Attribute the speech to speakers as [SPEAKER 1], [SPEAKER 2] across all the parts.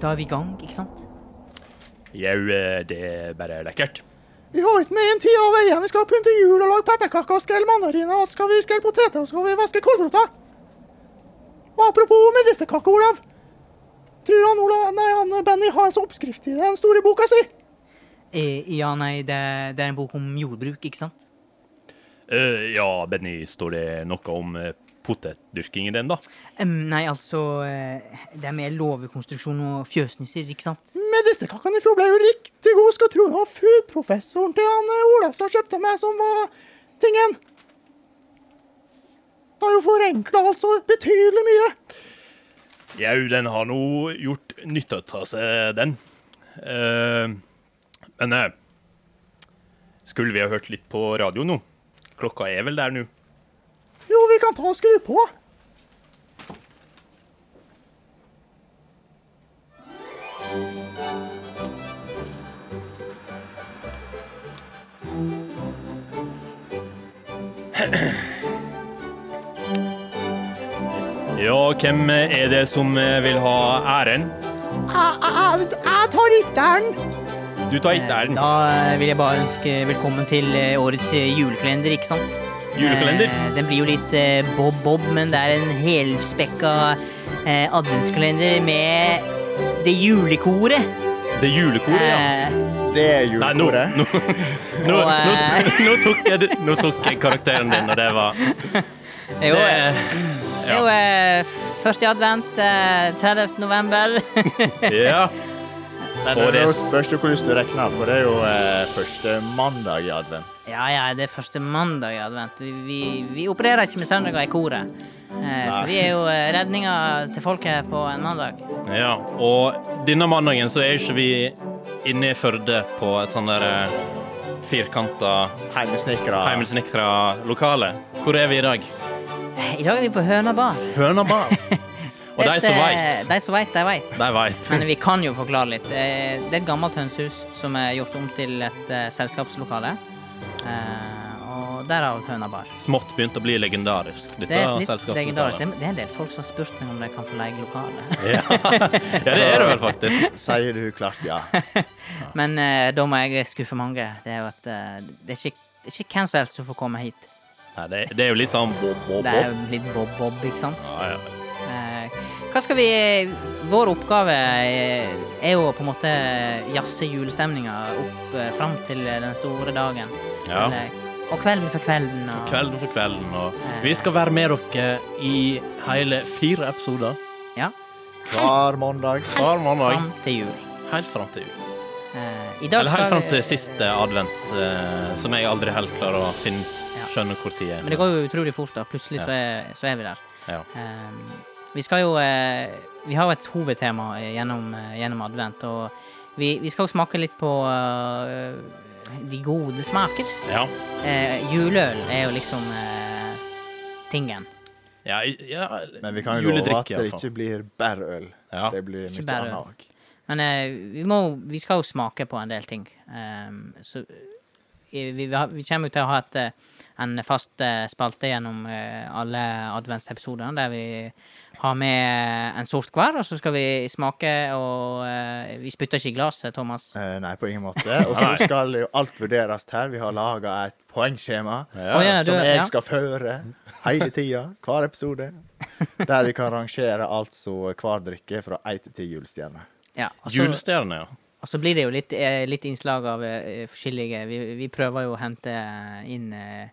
[SPEAKER 1] Da er vi i gang, ikke sant?
[SPEAKER 2] Jau, eh, det er bare lekkert.
[SPEAKER 3] Vi har ikke mer enn ti av veien. Vi skal pynte jul og lage pepperkaker og skrelle mandariner. Og så skal vi skrelle poteter og så skal vi vaske kålroter. Og apropos medisterkake, Olav. Tror han, Olav, nei, han Benny har en sånn oppskrift i den store boka si?
[SPEAKER 1] Eh, ja, nei, det, det er en bok om jordbruk, ikke sant?
[SPEAKER 2] Eh, ja, Benny, står det noe om eh, potetdyrking i den, da?
[SPEAKER 1] Em, nei, altså eh, Det er mer låvekonstruksjon og fjøsnisser, ikke sant?
[SPEAKER 3] Medisterkakene i fjor ble jo riktig god, skal tro det var foodprofessoren til han eh, Olav som kjøpte meg, som var tingen. Det har jo forenkla alt så betydelig mye.
[SPEAKER 2] Jau, den har nå gjort nytte av seg, den. Eh, men eh, skulle vi ha hørt litt på radio nå? Klokka er vel der nå?
[SPEAKER 3] Jo, vi kan ta og skru på.
[SPEAKER 2] Ja, hvem er det som eh, vil ha æren?
[SPEAKER 3] Jeg, jeg, jeg tar ikke den.
[SPEAKER 2] Du tar
[SPEAKER 1] Eh,
[SPEAKER 2] ikke æren.
[SPEAKER 1] Da eh, vil jeg bare ønske velkommen til eh, årets eh, julekalender, ikke sant?
[SPEAKER 2] Julekalender.
[SPEAKER 1] Eh, den blir jo litt eh, bob-bob, men det er en helspekka eh, adventskalender med det julekoret.
[SPEAKER 2] Det er julekoret, ja.
[SPEAKER 1] Eh,
[SPEAKER 4] Det er
[SPEAKER 2] Nei, nå,
[SPEAKER 4] julekoret.
[SPEAKER 2] nå, nå, nå,
[SPEAKER 1] Og,
[SPEAKER 2] nå, tok jeg, det- nå tok jeg karakteren din, og det var
[SPEAKER 1] jo, eh,
[SPEAKER 2] ja.
[SPEAKER 1] jo, eh, første advent, eh, 30. november.
[SPEAKER 2] Ja.
[SPEAKER 4] Nei,
[SPEAKER 2] Og
[SPEAKER 4] det
[SPEAKER 2] det-
[SPEAKER 4] er jo spørs jo hvordan du regner, for det er jo eh, første mandag i advent.
[SPEAKER 1] ja, ja, det er første mandag i advent. Vi, vi, vi opererer ikke med søndager i koret. Eh, for vi er jo eh, redninga til folket på en mandag.
[SPEAKER 2] ja. Og denne mandagen så er ikke vi inne i Førde på et sånn der firkanta
[SPEAKER 4] Heimesnekra.
[SPEAKER 2] heimelsnekra lokale. Hvor er vi i dag?
[SPEAKER 1] Eh, I dag er vi på Høna bar.
[SPEAKER 2] Høna bar. Og de
[SPEAKER 1] Dette-
[SPEAKER 2] som veit,
[SPEAKER 1] De som veit, de veit.
[SPEAKER 2] de veit.
[SPEAKER 1] Men vi kan jo forklare litt. Eh, Det er et gammelt hønsehus som er gjort om til et eh, selskapslokale. Eh, Og derav Høna bar.
[SPEAKER 2] Smått begynte å bli legendarisk, dette
[SPEAKER 1] Det er et litt
[SPEAKER 2] selskapet.
[SPEAKER 1] legendarisk. Det er- det er en del folk som har spurt meg om de kan få leie lokale.
[SPEAKER 2] Ja. ja, det er det vel faktisk.
[SPEAKER 4] Sier du klart ja.
[SPEAKER 1] Men eh, da må jeg skuffe mange. Det er jo at eh, det er ikke, det er ikke hvem som helst som får komme hit.
[SPEAKER 2] Nei, det, det er jo litt sånn bob, bob,
[SPEAKER 1] Det er
[SPEAKER 2] bob.
[SPEAKER 1] jo litt bob-bob, ikke sant?
[SPEAKER 2] Ja, ja.
[SPEAKER 1] Eh, Hva skal vi Vår oppgave eh, er jo på en måte jazze julestemninga opp eh, fram til den store dagen.
[SPEAKER 2] Ja.
[SPEAKER 1] Eller- Og kvelden for kvelden. Og,
[SPEAKER 2] Kvelden for kvelden. Og vi skal være med dere i hele fire episoder
[SPEAKER 1] Ja,
[SPEAKER 4] Hver mandag.
[SPEAKER 2] hver mandag
[SPEAKER 1] fram til jul.
[SPEAKER 2] helt fram til jul.
[SPEAKER 1] Eh, I dag
[SPEAKER 2] Eller helt
[SPEAKER 1] skal
[SPEAKER 2] fram
[SPEAKER 1] vi-
[SPEAKER 2] til siste advent, eh, som jeg aldri helt klarer å finne
[SPEAKER 1] Ja.
[SPEAKER 2] skjønne hvor tid er.
[SPEAKER 1] Men det går jo utrolig fort, da. Plutselig så er, så er vi der.
[SPEAKER 2] Ja.
[SPEAKER 1] Ehm, vi skal jo eh, Vi har jo et hovedtema eh, gjennom, eh, gjennom advent, og vi, vi skal jo smake litt på eh, de gode smaker.
[SPEAKER 2] Ja.
[SPEAKER 1] Eh, juleøl er jo liksom eh, tingen.
[SPEAKER 2] Ja, ja,
[SPEAKER 4] Men vi kan jo love
[SPEAKER 2] juledrikk,
[SPEAKER 4] at
[SPEAKER 2] i
[SPEAKER 4] det
[SPEAKER 2] hvert fall.
[SPEAKER 4] ikke blir bare øl.
[SPEAKER 2] Ja.
[SPEAKER 4] Det blir
[SPEAKER 1] Ikke
[SPEAKER 4] mye
[SPEAKER 1] bare øl.
[SPEAKER 4] annet òg.
[SPEAKER 1] Men eh, vi, må, vi skal jo smake på en del ting. Ehm, så eh, vi, vi, har, vi kommer jo til å ha et, eh, en fast eh, spalte gjennom eh, alle adventsepisodene, der vi har med eh, en sort hver, og så skal vi smake og eh, Vi spytter ikke i glasset, Thomas.
[SPEAKER 4] Eh, nei, på ingen måte. Og så skal jo alt vurderes her. Vi har laga et poengskjema
[SPEAKER 2] Ja.
[SPEAKER 1] Å, ja, du-
[SPEAKER 4] som jeg
[SPEAKER 1] ja.
[SPEAKER 4] skal føre hele tida, hver episode. Der vi kan rangere altså hver drikke fra én til ti julestjerner.
[SPEAKER 1] Ja, og så-
[SPEAKER 2] Julestjerne, ja.
[SPEAKER 1] Og så blir det jo litt, eh, litt innslag av eh, forskjellige vi, vi prøver jo å hente inn eh,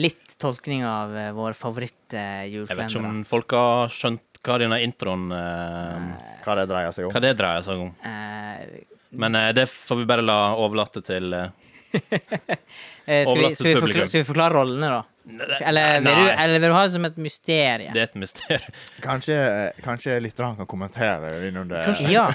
[SPEAKER 1] litt tolkning av eh, vår
[SPEAKER 2] Jeg vet ikke
[SPEAKER 1] favoritt-julekalender.
[SPEAKER 2] om folk har skjønt hva denne introen eh,
[SPEAKER 4] Hva det dreier seg om.
[SPEAKER 2] Hva det dreier seg om. Men eh, det får vi bare la overlate til eh,
[SPEAKER 1] eh, skal, vi,
[SPEAKER 2] Overlatt til
[SPEAKER 1] skal, vi
[SPEAKER 2] publikum.
[SPEAKER 1] forklare, skal vi forklare rollene, da?
[SPEAKER 2] Nei,
[SPEAKER 1] Eller vil, du,
[SPEAKER 2] nei.
[SPEAKER 1] eller vil du ha det som et mysterium?
[SPEAKER 2] Det er et mysterium.
[SPEAKER 4] Kanskje, kanskje lytterne kan kommentere innunder
[SPEAKER 1] Kanskje- Ja.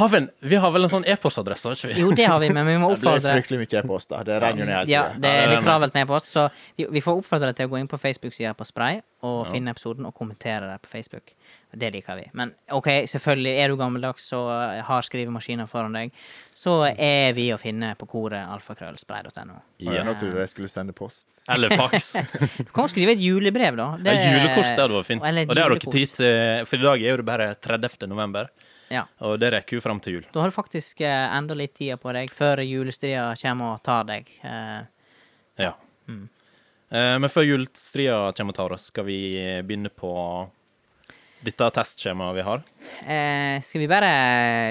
[SPEAKER 2] Har vi, en, vi har vel en sånn e-postadresse, har ikke vi?
[SPEAKER 1] Jo, det har vi, men vi må
[SPEAKER 4] Det blir
[SPEAKER 1] oppfordre
[SPEAKER 4] fryktelig mye e-poster. Det renner jo ned hele
[SPEAKER 1] ja,
[SPEAKER 4] tiden.
[SPEAKER 1] Det
[SPEAKER 2] Ja,
[SPEAKER 1] er
[SPEAKER 2] det er
[SPEAKER 1] litt travelt med på oss, så vi, vi får oppfordre deg til å gå inn på Facebook-sida på Spray og finne episoden og kommentere der på Facebook. Det liker vi. Men OK, selvfølgelig, er du gammeldags og har skrivemaskiner foran deg, så er vi å finne på koret alfakrøllspray.no.
[SPEAKER 4] Og Jeg nå trodde jeg skulle sende post.
[SPEAKER 2] Eller faks.
[SPEAKER 1] Du kan jo skrive et julebrev, da.
[SPEAKER 2] Ja, julekort det hadde vært fint.
[SPEAKER 1] Eller et
[SPEAKER 2] Og det har dere
[SPEAKER 1] julekort.
[SPEAKER 2] tid til, for i dag er jo det bare 30. november.
[SPEAKER 1] Ja.
[SPEAKER 2] Og det rekker jo fram til jul.
[SPEAKER 1] Da har du faktisk eh, enda litt tid på deg før julestria kommer og tar deg. Eh,
[SPEAKER 2] Ja.
[SPEAKER 1] Mm.
[SPEAKER 2] Eh, Men før julestria kommer og tar oss, skal vi begynne på dette testskjemaet vi har.
[SPEAKER 1] Eh, skal vi bare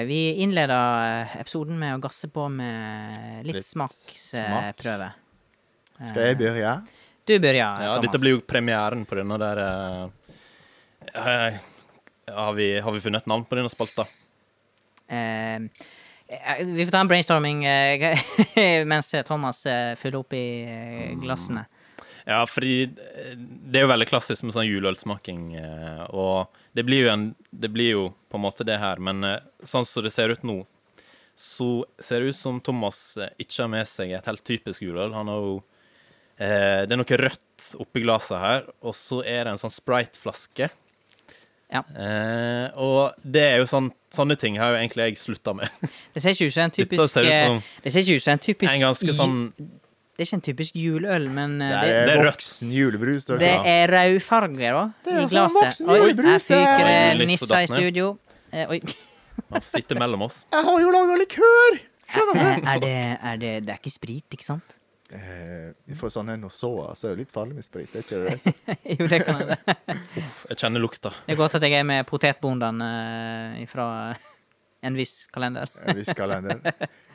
[SPEAKER 1] Vi innleder eh, episoden med å gasse på med litt,
[SPEAKER 4] Litt smak.
[SPEAKER 1] smaksprøve.
[SPEAKER 4] Skal jeg begynne?
[SPEAKER 1] Du begynner,
[SPEAKER 2] Ja,
[SPEAKER 1] Thomas.
[SPEAKER 2] dette blir jo premieren på denne der eh, eh, har, vi, har vi funnet et navn på denne spalta?
[SPEAKER 1] Eh, eh, vi får ta en brainstorming eh, mens Thomas eh, fyller opp i eh, glassene.
[SPEAKER 2] Ja, fordi eh, det er jo veldig klassisk med sånn juleølsmaking, eh, og det blir jo en Det blir jo på en måte det her, men eh, sånn som det ser ut nå, så ser det ut som Thomas eh, ikke har med seg et helt typisk juleøl. Han har jo eh, Det er noe rødt oppi glasset her, og så er det en sånn Sprite-flaske.
[SPEAKER 1] Ja.
[SPEAKER 2] Eh, og det er jo sånn Sånne ting har jo egentlig jeg slutta med.
[SPEAKER 1] Det ser ikke ut som en
[SPEAKER 2] Dette
[SPEAKER 1] typisk
[SPEAKER 2] ser ut
[SPEAKER 1] eh,
[SPEAKER 2] som
[SPEAKER 1] Det ser ikke ut som en typisk
[SPEAKER 2] en ganske
[SPEAKER 1] ju-
[SPEAKER 2] sånn
[SPEAKER 1] Det er ikke en typisk juleøl, men eh,
[SPEAKER 4] Det
[SPEAKER 1] det,
[SPEAKER 4] er,
[SPEAKER 2] det er rødt.
[SPEAKER 4] voksen julebrus. dere.
[SPEAKER 1] det er rødfarge, da,
[SPEAKER 5] Det er
[SPEAKER 1] i
[SPEAKER 5] sånn
[SPEAKER 1] glasset.
[SPEAKER 5] voksen
[SPEAKER 1] Oi,
[SPEAKER 5] julebrus,
[SPEAKER 1] her
[SPEAKER 5] det er-
[SPEAKER 1] fyker
[SPEAKER 2] Oi,
[SPEAKER 1] det
[SPEAKER 2] lyset
[SPEAKER 1] nisser i
[SPEAKER 2] datt ned.
[SPEAKER 1] studio. Eh, oi.
[SPEAKER 2] Han får sitte mellom oss.
[SPEAKER 5] Jeg har jo laga likør! Skjønner du?
[SPEAKER 1] er det, er det, det er ikke sprit, ikke sant?
[SPEAKER 4] Eh, For sånne nosåer så er det litt farlig med sprit. Er ikke det det?
[SPEAKER 1] jo, det kan være.
[SPEAKER 2] Jeg kjenner lukta.
[SPEAKER 1] Det er godt at jeg er med potetbondene eh, fra en viss kalender.
[SPEAKER 4] Eh, Vi skal ha den.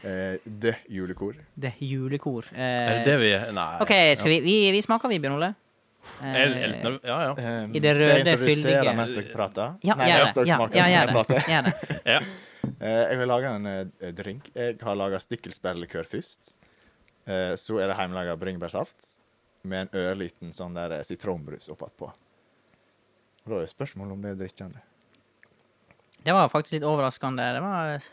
[SPEAKER 4] Eh, Det julekor.
[SPEAKER 1] Det er julekor. Eh,
[SPEAKER 2] Er det det vi Nei.
[SPEAKER 1] OK, skal vi, vi, vi smaker, vi, Bjørn Ole. Eh,
[SPEAKER 2] Jeg er litt nerv- Ja, ja.
[SPEAKER 4] Um,
[SPEAKER 1] I det
[SPEAKER 4] skal jeg
[SPEAKER 1] røde,
[SPEAKER 4] introdusere
[SPEAKER 1] fyldige-
[SPEAKER 4] mens dere prater?
[SPEAKER 1] ja,
[SPEAKER 4] Nei,
[SPEAKER 1] gjør
[SPEAKER 4] mens
[SPEAKER 1] det.
[SPEAKER 4] dere
[SPEAKER 1] Ja,
[SPEAKER 4] smaker,
[SPEAKER 1] ja,
[SPEAKER 4] så
[SPEAKER 1] gjør
[SPEAKER 4] kan jeg
[SPEAKER 1] det.
[SPEAKER 4] prate.
[SPEAKER 1] Gjør det.
[SPEAKER 2] ja.
[SPEAKER 4] Eh, jeg vil lage en eh, drink. Jeg har laga stikkelsbærlikør først. Eh, så er det hjemmelaga bringebærsaft med en ørliten sånn der eh, sitronbrus oppatpå. Og Da er spørsmålet om det er drikkende.
[SPEAKER 1] det var faktisk litt overraskende. Det var eh,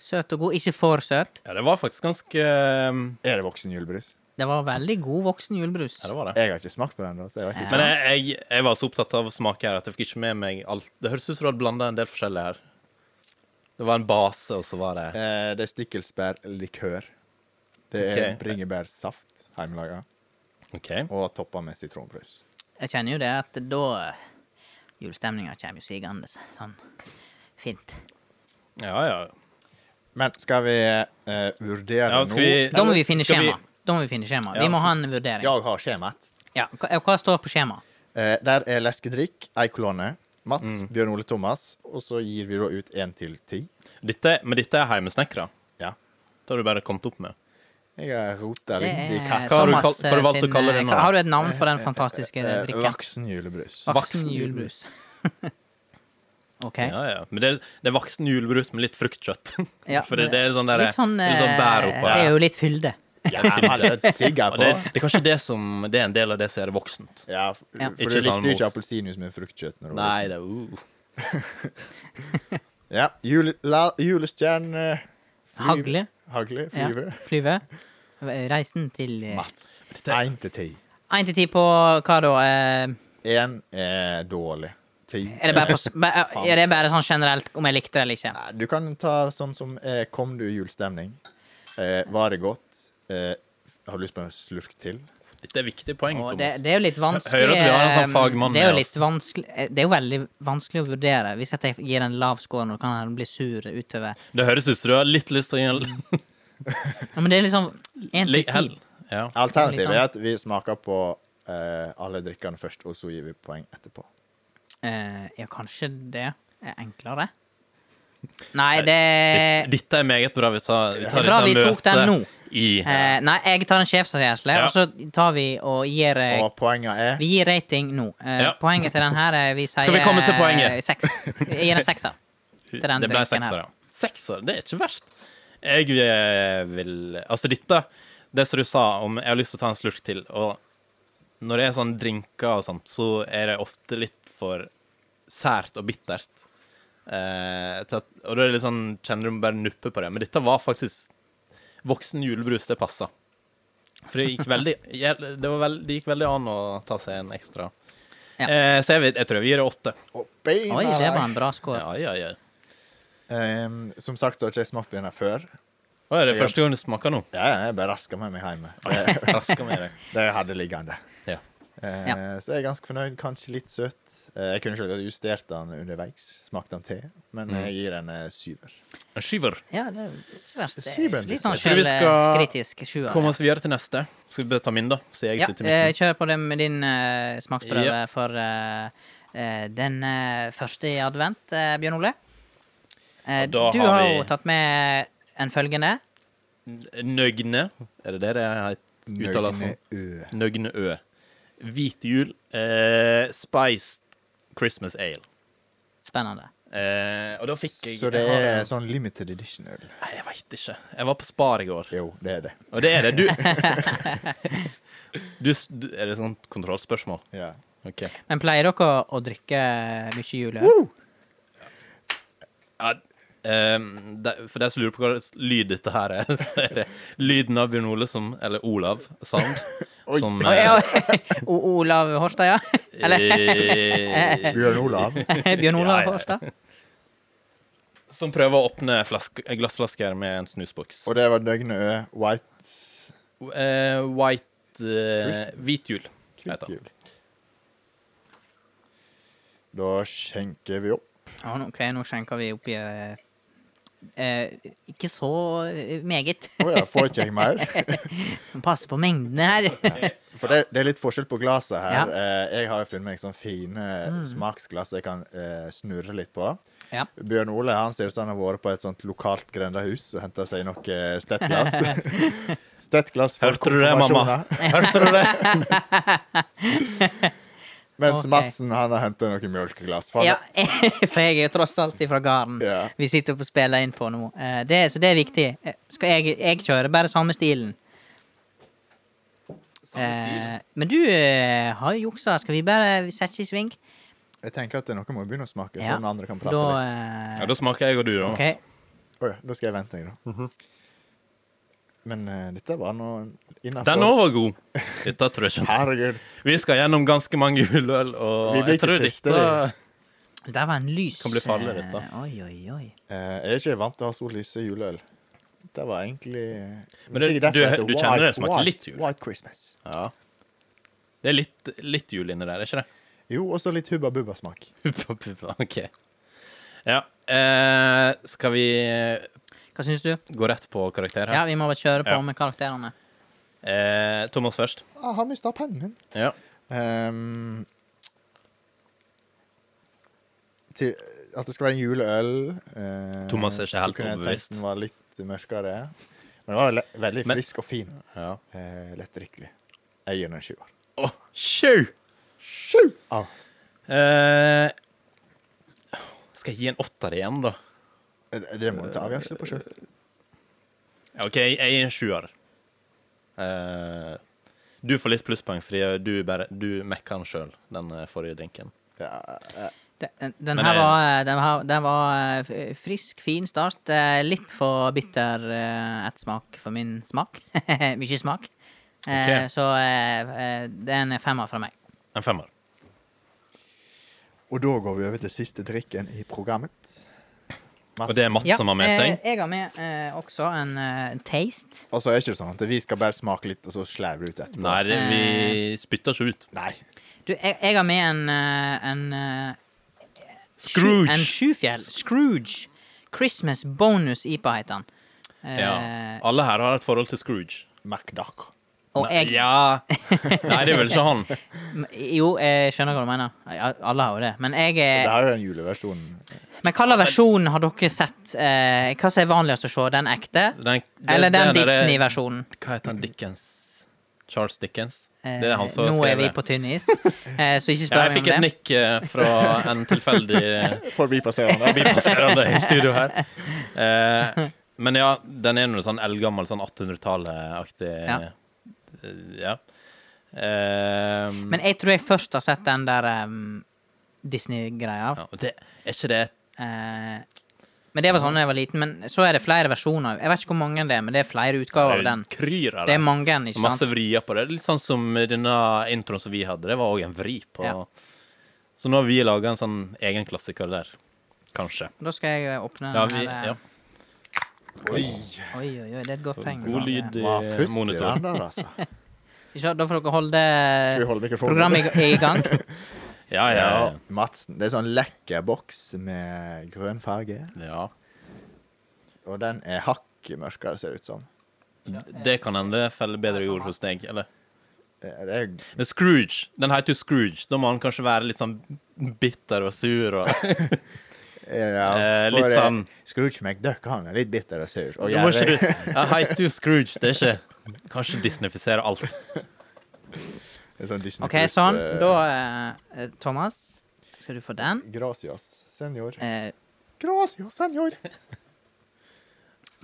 [SPEAKER 1] søt og god. Ikke for søt.
[SPEAKER 2] Ja, det var faktisk ganske Ja,
[SPEAKER 4] Er det voksen julebrus?
[SPEAKER 1] Det var veldig god voksen julebrus.
[SPEAKER 2] det var det.
[SPEAKER 4] Jeg har ikke smakt på den. da, så jeg vet ikke.
[SPEAKER 2] Men jeg, jeg, jeg var så opptatt av smak her at jeg fikk ikke med meg alt. Det høres ut som du hadde blanda en del forskjellig her. Det var en base, og så var det
[SPEAKER 4] Eh, det er stikkelsbærlikør. Det er
[SPEAKER 2] Ok.
[SPEAKER 4] bringebærsaft hjemmelaga
[SPEAKER 2] OK.
[SPEAKER 4] og toppa med sitronbrus.
[SPEAKER 1] Jeg kjenner jo det at da eh, Julestemninga kommer jo sigende. Sånn fint.
[SPEAKER 2] Ja, ja.
[SPEAKER 4] Men skal vi eh, vurdere
[SPEAKER 2] Ja, skal vi-
[SPEAKER 4] nå
[SPEAKER 1] Da må vi finne
[SPEAKER 2] Skal vi-
[SPEAKER 1] skjema. Da må vi finne skjema. Vi
[SPEAKER 2] Ja,
[SPEAKER 1] må
[SPEAKER 2] for-
[SPEAKER 1] ha en vurdering.
[SPEAKER 4] Jeg har skjemaet.
[SPEAKER 1] Ja, hva, hva står på skjemaet?
[SPEAKER 4] Eh, der er leskedrikk, ei
[SPEAKER 2] Mm.
[SPEAKER 4] kolonne. Mats, Bjørn Ole Thomas. Og så gir vi da ut én til ti.
[SPEAKER 2] Dette, men dette er heimesnekra.
[SPEAKER 4] Ja.
[SPEAKER 2] Det har du bare kommet opp med.
[SPEAKER 4] Jeg har rota
[SPEAKER 1] Det
[SPEAKER 4] litt i
[SPEAKER 1] er
[SPEAKER 4] kassa.
[SPEAKER 2] Hva har du
[SPEAKER 1] Thomas
[SPEAKER 2] kall- hva har du valgt å
[SPEAKER 1] sin,
[SPEAKER 2] kalle den
[SPEAKER 1] eh,
[SPEAKER 2] nå?
[SPEAKER 1] Har du et navn for den fantastiske
[SPEAKER 4] Eh,
[SPEAKER 1] drikken?
[SPEAKER 4] Laksen julebrus.
[SPEAKER 1] Vaksen
[SPEAKER 2] Vaksen
[SPEAKER 1] julebrus. OK.
[SPEAKER 2] Ja, ja. Men det, det er voksen julebrus med litt fruktkjøtt.
[SPEAKER 1] Ja,
[SPEAKER 2] For det, det er sånn der,
[SPEAKER 1] Litt sånn,
[SPEAKER 2] litt sånn bær
[SPEAKER 1] eh,
[SPEAKER 2] oppå
[SPEAKER 1] Det er
[SPEAKER 2] her.
[SPEAKER 1] jo litt fylde.
[SPEAKER 4] Ja, men det tigger
[SPEAKER 2] Og
[SPEAKER 4] på.
[SPEAKER 2] det, det er kanskje det som Det er en del av det som er det voksent.
[SPEAKER 4] Ja, for
[SPEAKER 1] Ja.
[SPEAKER 4] for
[SPEAKER 2] Ikke sånn
[SPEAKER 4] du likte jo ikke
[SPEAKER 2] mos.
[SPEAKER 4] appelsinjuice med fruktkjøtt. når du var
[SPEAKER 2] Nei, det
[SPEAKER 4] liten.
[SPEAKER 2] er uh.
[SPEAKER 4] Ja, jule, la- julestjerne fly-
[SPEAKER 1] Hagle.
[SPEAKER 4] Hagle,
[SPEAKER 1] Ja.
[SPEAKER 4] flyve.
[SPEAKER 1] Flyve. Reisen til
[SPEAKER 4] Mats. Én til ti.
[SPEAKER 1] Én til ti på hva da? Eh,
[SPEAKER 4] Én er dårlig. Ti
[SPEAKER 1] Er det bare, på, s- ba- er det bare sånn generelt om jeg likte det eller ikke?
[SPEAKER 4] Nei, Du kan ta sånn som eh, Kom du i julestemning? Eh, var det godt? Eh, har du lyst på en slurk til?
[SPEAKER 2] Dette er viktige poeng,
[SPEAKER 1] Og
[SPEAKER 2] Thomas.
[SPEAKER 1] det, det er jo litt vanskelig
[SPEAKER 2] Hører at vi har en sånn
[SPEAKER 1] eh,
[SPEAKER 2] fagmann
[SPEAKER 1] Det er jo
[SPEAKER 2] med
[SPEAKER 1] litt vanskelig eh, Det er jo veldig vanskelig å vurdere. Hvis at jeg gir en lav score nå, kan han bli sur utover
[SPEAKER 2] Det høres ut som du har litt lyst til å gi en
[SPEAKER 1] Ja, men det er liksom én til
[SPEAKER 2] litt hell.
[SPEAKER 1] ti.
[SPEAKER 2] Ja.
[SPEAKER 4] Alternativet
[SPEAKER 1] Litt sånn.
[SPEAKER 4] er at vi smaker på eh, alle drikkene først, og så gir vi poeng etterpå.
[SPEAKER 1] Eh, ja, kanskje det er enklere? Nei,
[SPEAKER 2] Ditt-
[SPEAKER 1] det
[SPEAKER 2] Dette er meget bra. Vi tar, vi tar
[SPEAKER 1] Det er bra
[SPEAKER 2] Eh, dette
[SPEAKER 1] vi tok den
[SPEAKER 2] møtet
[SPEAKER 1] nå.
[SPEAKER 2] I,
[SPEAKER 1] eh, Nei, jeg tar en sjefsavgjørelse,
[SPEAKER 2] Ja.
[SPEAKER 1] og så tar vi og gir eh,
[SPEAKER 4] Og poenget er
[SPEAKER 1] Vi gir rating nå. Eh,
[SPEAKER 2] Ja.
[SPEAKER 1] Poenget til den her er vi sier
[SPEAKER 2] Skal vi komme til poenget?
[SPEAKER 1] eh, Seks. Jeg gir en sekser. til den
[SPEAKER 2] det ble
[SPEAKER 1] drinken her.
[SPEAKER 2] sekser, ja. Sekser, det er ikke verst. Jeg eh, vil Altså, dette Det som du sa om jeg har lyst til å ta en slurk til, og når det er sånn drinker og sånt, så er det ofte litt for sært og bittert. Eh, til at, og da er det litt sånn Kjenner du må bare nuppe på det. Men dette var faktisk voksen julebrus. Det passa. For det gikk veldig det, var veld, det gikk veldig an å ta seg en ekstra.
[SPEAKER 1] Ja.
[SPEAKER 2] Eh, så jeg, vet- jeg tror jeg gir det åtte.
[SPEAKER 4] Å, beina
[SPEAKER 1] Oi, det var
[SPEAKER 4] vei.
[SPEAKER 1] en bra score.
[SPEAKER 2] Ja, ja, ja.
[SPEAKER 4] Ehm, Som sagt så har ikke jeg smakt på denne før.
[SPEAKER 2] Å, er det første gang du smaker nå?
[SPEAKER 4] Ja, ja, jeg bare rasker med meg hjemme. Det,
[SPEAKER 2] Rasker med deg.
[SPEAKER 4] det jeg hadde liggende.
[SPEAKER 2] Ja.
[SPEAKER 4] Eh,
[SPEAKER 1] Ja.
[SPEAKER 4] Så jeg er ganske fornøyd. Kanskje litt søt. Eh, jeg kunne selvsagt justert den underveis. Smakte den te. Men
[SPEAKER 1] Mm.
[SPEAKER 4] jeg gir den eh, syver.
[SPEAKER 2] En Skyver.
[SPEAKER 1] Ja, det er ikke verst. Det
[SPEAKER 4] Syvende.
[SPEAKER 1] er Litt sånn
[SPEAKER 2] Jeg tror vi skal
[SPEAKER 1] selvkritisk sjuer.
[SPEAKER 2] Kom oss videre til neste. Skal vi bare ta min, da? Siden jeg
[SPEAKER 1] Ja,
[SPEAKER 2] sitter
[SPEAKER 1] eh,
[SPEAKER 2] midt
[SPEAKER 1] kjør på det med din eh, smaksprøve
[SPEAKER 2] Ja.
[SPEAKER 1] for eh, eh, den eh, første i advent, eh, Bjørn Ole. Eh,
[SPEAKER 2] Og da
[SPEAKER 1] du
[SPEAKER 2] har
[SPEAKER 1] har
[SPEAKER 2] vi-
[SPEAKER 1] jo tatt med en følgende.
[SPEAKER 2] Nøgne. Er det det det het- uttales som?
[SPEAKER 4] Nøgne ø.
[SPEAKER 2] Nøgne Ø. Hvit jul. Eh, spiced Christmas ale.
[SPEAKER 1] Spennende.
[SPEAKER 2] Eh, og da fikk jeg
[SPEAKER 4] Så det
[SPEAKER 2] jeg har
[SPEAKER 4] er
[SPEAKER 2] en-
[SPEAKER 4] sånn limited edition-øl.
[SPEAKER 2] Nei, Jeg veit ikke. Jeg var på Spar i går,
[SPEAKER 4] Jo, det er det.
[SPEAKER 2] og det er det. Du, du, s- du Er det sånt kontrollspørsmål?
[SPEAKER 4] Ja.
[SPEAKER 2] OK.
[SPEAKER 1] Men pleier dere å, å drikke eh, mye juleøl?
[SPEAKER 2] Ja, ehm, de, for de som lurer på hva slags lyd dette her er, så er det lyden av Bjørn Ole som Eller Olav Sand. som
[SPEAKER 1] Å, ja, O- Olav Horstad, ja?
[SPEAKER 2] eh, eh,
[SPEAKER 4] Bjørn Olav.
[SPEAKER 1] Bjørn Olav
[SPEAKER 2] Ja, ja, ja.
[SPEAKER 1] Horstad?
[SPEAKER 2] Som prøver å åpne flaske, eh, glassflasker med en snusboks.
[SPEAKER 4] Og det var Nøgne ø. White
[SPEAKER 2] Eh, white eh,
[SPEAKER 4] Crisp.
[SPEAKER 2] Hvit jul. heter den.
[SPEAKER 4] Kvittjul. Da skjenker vi opp.
[SPEAKER 1] Ja, nå- OK, nå skjenker vi oppi eh, eh, Ikke så eh, meget.
[SPEAKER 4] Å ja, får ikke jeg mer?
[SPEAKER 1] Pass på mengdene her.
[SPEAKER 4] For det, det er litt forskjell på glasset
[SPEAKER 1] Ja. Mm.
[SPEAKER 4] her. Eh, Jeg har jo funnet meg sånn fine smaksglass jeg kan eh, snurre litt på.
[SPEAKER 1] ja.
[SPEAKER 4] Bjørn Ole han ser ut som han har vært på et sånt lokalt grendehus og henta seg eh, noe stettglass. stettglass for
[SPEAKER 2] Hørte du det, mamma?
[SPEAKER 4] konfirmasjoner.
[SPEAKER 2] Hørte du det?
[SPEAKER 4] Mens
[SPEAKER 1] Ok.
[SPEAKER 4] Madsen han har henta noe mjølkeglass. For
[SPEAKER 1] Ja,
[SPEAKER 4] han-
[SPEAKER 1] for jeg er jo tross alt ifra gården.
[SPEAKER 4] Ja.
[SPEAKER 1] Vi sitter og spiller inn på nå. Eh, Det, så det er viktig. Eh, Skal jeg, jeg kjører bare samme stilen. Eh, men du eh, har jo juksa. Skal vi bare sette i sving?
[SPEAKER 4] Jeg tenker at det er noe må begynne å smake,
[SPEAKER 1] Ja.
[SPEAKER 4] sånn andre kan prate
[SPEAKER 1] Da eh,
[SPEAKER 4] litt.
[SPEAKER 2] Ja, da smaker jeg og du, da.
[SPEAKER 1] OK.
[SPEAKER 4] Å ja, da skal jeg vente, jeg, da.
[SPEAKER 2] Mhm.
[SPEAKER 4] Men eh, dette var nå innafor.
[SPEAKER 2] Altså. Den òg var god. Dette tror jeg ikke.
[SPEAKER 4] Herregud.
[SPEAKER 2] Vi skal gjennom ganske mange juleøl, og
[SPEAKER 4] Vi blir
[SPEAKER 2] jeg
[SPEAKER 4] ikke
[SPEAKER 2] tror
[SPEAKER 4] tester,
[SPEAKER 2] dette
[SPEAKER 4] vi.
[SPEAKER 1] Der var en lys
[SPEAKER 2] Kan bli farlig,
[SPEAKER 1] eh,
[SPEAKER 2] dette.
[SPEAKER 1] Oi, oi, oi.
[SPEAKER 4] Eh, jeg er ikke vant til å ha så lyse juleøl. Det var egentlig
[SPEAKER 2] Men det-
[SPEAKER 4] Sikkert derfor
[SPEAKER 2] du-
[SPEAKER 4] heter
[SPEAKER 2] du kjenner det
[SPEAKER 4] White-
[SPEAKER 2] smaker
[SPEAKER 4] White-
[SPEAKER 2] litt jul.
[SPEAKER 4] White Christmas.
[SPEAKER 2] Ja. Det er litt, litt jul inni der, er ikke det?
[SPEAKER 4] Jo, og så litt Hubba Bubba-smak.
[SPEAKER 2] Puppa, puppa, ok. Ja. Eh, skal vi
[SPEAKER 1] Hva syns du?
[SPEAKER 2] gå rett på karakter
[SPEAKER 1] Ja,
[SPEAKER 2] her?
[SPEAKER 1] vi må bare kjøre på
[SPEAKER 2] Ja.
[SPEAKER 1] med karakterene.
[SPEAKER 2] Eh, Thomas først.
[SPEAKER 4] Jeg har mista Ah, pennen min.
[SPEAKER 2] Ja.
[SPEAKER 4] Ehm, til, at det skal være en juleøl eh,
[SPEAKER 2] Thomas er ikke helt
[SPEAKER 4] Så kunne jeg
[SPEAKER 2] overbevist.
[SPEAKER 4] tenkt den var litt mørkere. Men den var le veldig
[SPEAKER 2] Men-
[SPEAKER 4] frisk og fin.
[SPEAKER 2] ja.
[SPEAKER 4] Eh, Lettdrikkelig. Jeg gir den en sjuer.
[SPEAKER 2] Å, sju!
[SPEAKER 4] Sju! Ah,
[SPEAKER 2] Eh, skal jeg gi en åtter igjen, da?
[SPEAKER 4] det det må du ta avgjørelse på sjøl.
[SPEAKER 2] Ja, OK, jeg jeg gir en sjuer. Eh, du får litt plusspoeng fordi du, bare, du mekka den sjøl, den eh, forrige drinken.
[SPEAKER 4] Ja, eh,
[SPEAKER 1] Den, den,
[SPEAKER 2] Men
[SPEAKER 1] her
[SPEAKER 2] det-
[SPEAKER 1] var, eh, den, her, den var eh, f- frisk, fin start. Eh, Litt for bitter eh, ettersmak for min smak. Mye smak. Eh,
[SPEAKER 2] Ok.
[SPEAKER 1] Så eh, eh, det er en femmer fra meg.
[SPEAKER 2] En femmer.
[SPEAKER 4] Og da går vi over til siste drikken i programmet.
[SPEAKER 2] Og det er Mats som har med
[SPEAKER 1] eh,
[SPEAKER 2] seg.
[SPEAKER 1] jeg har med eh, også en eh, taste.
[SPEAKER 4] Og så er det ikke sånn at vi skal bare smake litt, og så slæver vi ut etterpå.
[SPEAKER 2] Nei, det, vi spytter ikke ut.
[SPEAKER 4] Nei.
[SPEAKER 1] Du, jeg, jeg har med en, eh, en eh, sju-
[SPEAKER 2] Scrooge.
[SPEAKER 1] En sjufjell. Scrooge. Christmas bonus IPA heter den. Eh,
[SPEAKER 2] Ja. Alle her har et forhold til Scrooge.
[SPEAKER 4] McDuck.
[SPEAKER 1] og
[SPEAKER 2] Nei,
[SPEAKER 1] jeg
[SPEAKER 2] Ja Nei, det er vel ikke han.
[SPEAKER 1] m- Jo, jeg skjønner hva du mener. Ja, Alle har jo det. Men jeg
[SPEAKER 4] Det
[SPEAKER 1] er
[SPEAKER 4] her er jo en juleversjon.
[SPEAKER 1] Men hva slags versjon har dere sett? Eh, hva som er vanligst å se? Den ekte?
[SPEAKER 2] Den, det-
[SPEAKER 1] Eller den
[SPEAKER 2] der er-
[SPEAKER 1] Disney-versjonen?
[SPEAKER 2] Hva heter han Dickens? Charles Dickens?
[SPEAKER 1] Eh,
[SPEAKER 2] Det er han som
[SPEAKER 1] nå er
[SPEAKER 2] skrev
[SPEAKER 1] vi
[SPEAKER 2] det.
[SPEAKER 1] på tynn is, eh, så ikke
[SPEAKER 2] Ja,
[SPEAKER 1] spør
[SPEAKER 2] jeg
[SPEAKER 1] meg
[SPEAKER 2] fikk et
[SPEAKER 1] om det.
[SPEAKER 2] nikk eh, fra en tilfeldig
[SPEAKER 4] Forbipasserende.
[SPEAKER 2] forbipasserende i studio her. Eh, men ja, den er noe sånn eldgammel, sånn 1800-tallet-aktig
[SPEAKER 1] Ja.
[SPEAKER 2] eh, Ja. Eh,
[SPEAKER 1] Men jeg tror jeg først har sett den der em, Disney-greia.
[SPEAKER 2] ja, og det, Er ikke det
[SPEAKER 1] Eh, men det var sånn da jeg var liten. Men så er det flere versjoner. Jeg vet ikke hvor mange det er, men det er flere utgaver av den.
[SPEAKER 2] kryr av
[SPEAKER 1] Det er mange, ikke
[SPEAKER 2] Masse
[SPEAKER 1] sant?
[SPEAKER 2] vrier på det. Litt sånn som denne introen som vi hadde. Det var òg en vri på
[SPEAKER 1] Ja.
[SPEAKER 2] Så nå har vi laga en sånn egen klassiker der. Kanskje.
[SPEAKER 1] Da skal jeg eh, åpne
[SPEAKER 2] Ja,
[SPEAKER 1] den
[SPEAKER 2] vi,
[SPEAKER 1] her, eh.
[SPEAKER 2] ja.
[SPEAKER 4] Oi,
[SPEAKER 1] Oi, oi, oi, det er et godt tegn.
[SPEAKER 2] God lyd
[SPEAKER 4] hva
[SPEAKER 2] i
[SPEAKER 4] futt i
[SPEAKER 2] monitor.
[SPEAKER 4] den der, altså.
[SPEAKER 1] Ikke, da får dere holde
[SPEAKER 4] Skal vi holde mikrofonen?
[SPEAKER 1] programmet i, i gang.
[SPEAKER 2] Ja, ja.
[SPEAKER 4] Ja, Madsen. Det er sånn lekker boks med grønn farge.
[SPEAKER 2] ja.
[SPEAKER 4] Og den er hakket mørkere, ser det ut som.
[SPEAKER 2] Det kan hende faller bedre i jord hos deg, eller?
[SPEAKER 4] Det Eh, det er,
[SPEAKER 2] Men Scrooge, den heter jo Scrooge. Da må han kanskje være litt sånn bitter og sur og
[SPEAKER 4] ja,
[SPEAKER 2] Eh,
[SPEAKER 4] for,
[SPEAKER 2] litt
[SPEAKER 4] eh,
[SPEAKER 2] sånn-
[SPEAKER 4] Scrooge McDuck han er litt bitter og sur. Og
[SPEAKER 2] Du må ikke
[SPEAKER 4] gjerrig.
[SPEAKER 2] du Jeg heter jo Scrooge, det er ikke Kanskje disneyfisere alt.
[SPEAKER 4] Det er sånn Disney
[SPEAKER 1] OK,
[SPEAKER 4] Plus,
[SPEAKER 1] sånn.
[SPEAKER 4] eh,
[SPEAKER 1] Da, eh, Thomas, skal du få den.
[SPEAKER 4] Gracias, senor.
[SPEAKER 1] Eh,
[SPEAKER 3] Gracias, senor.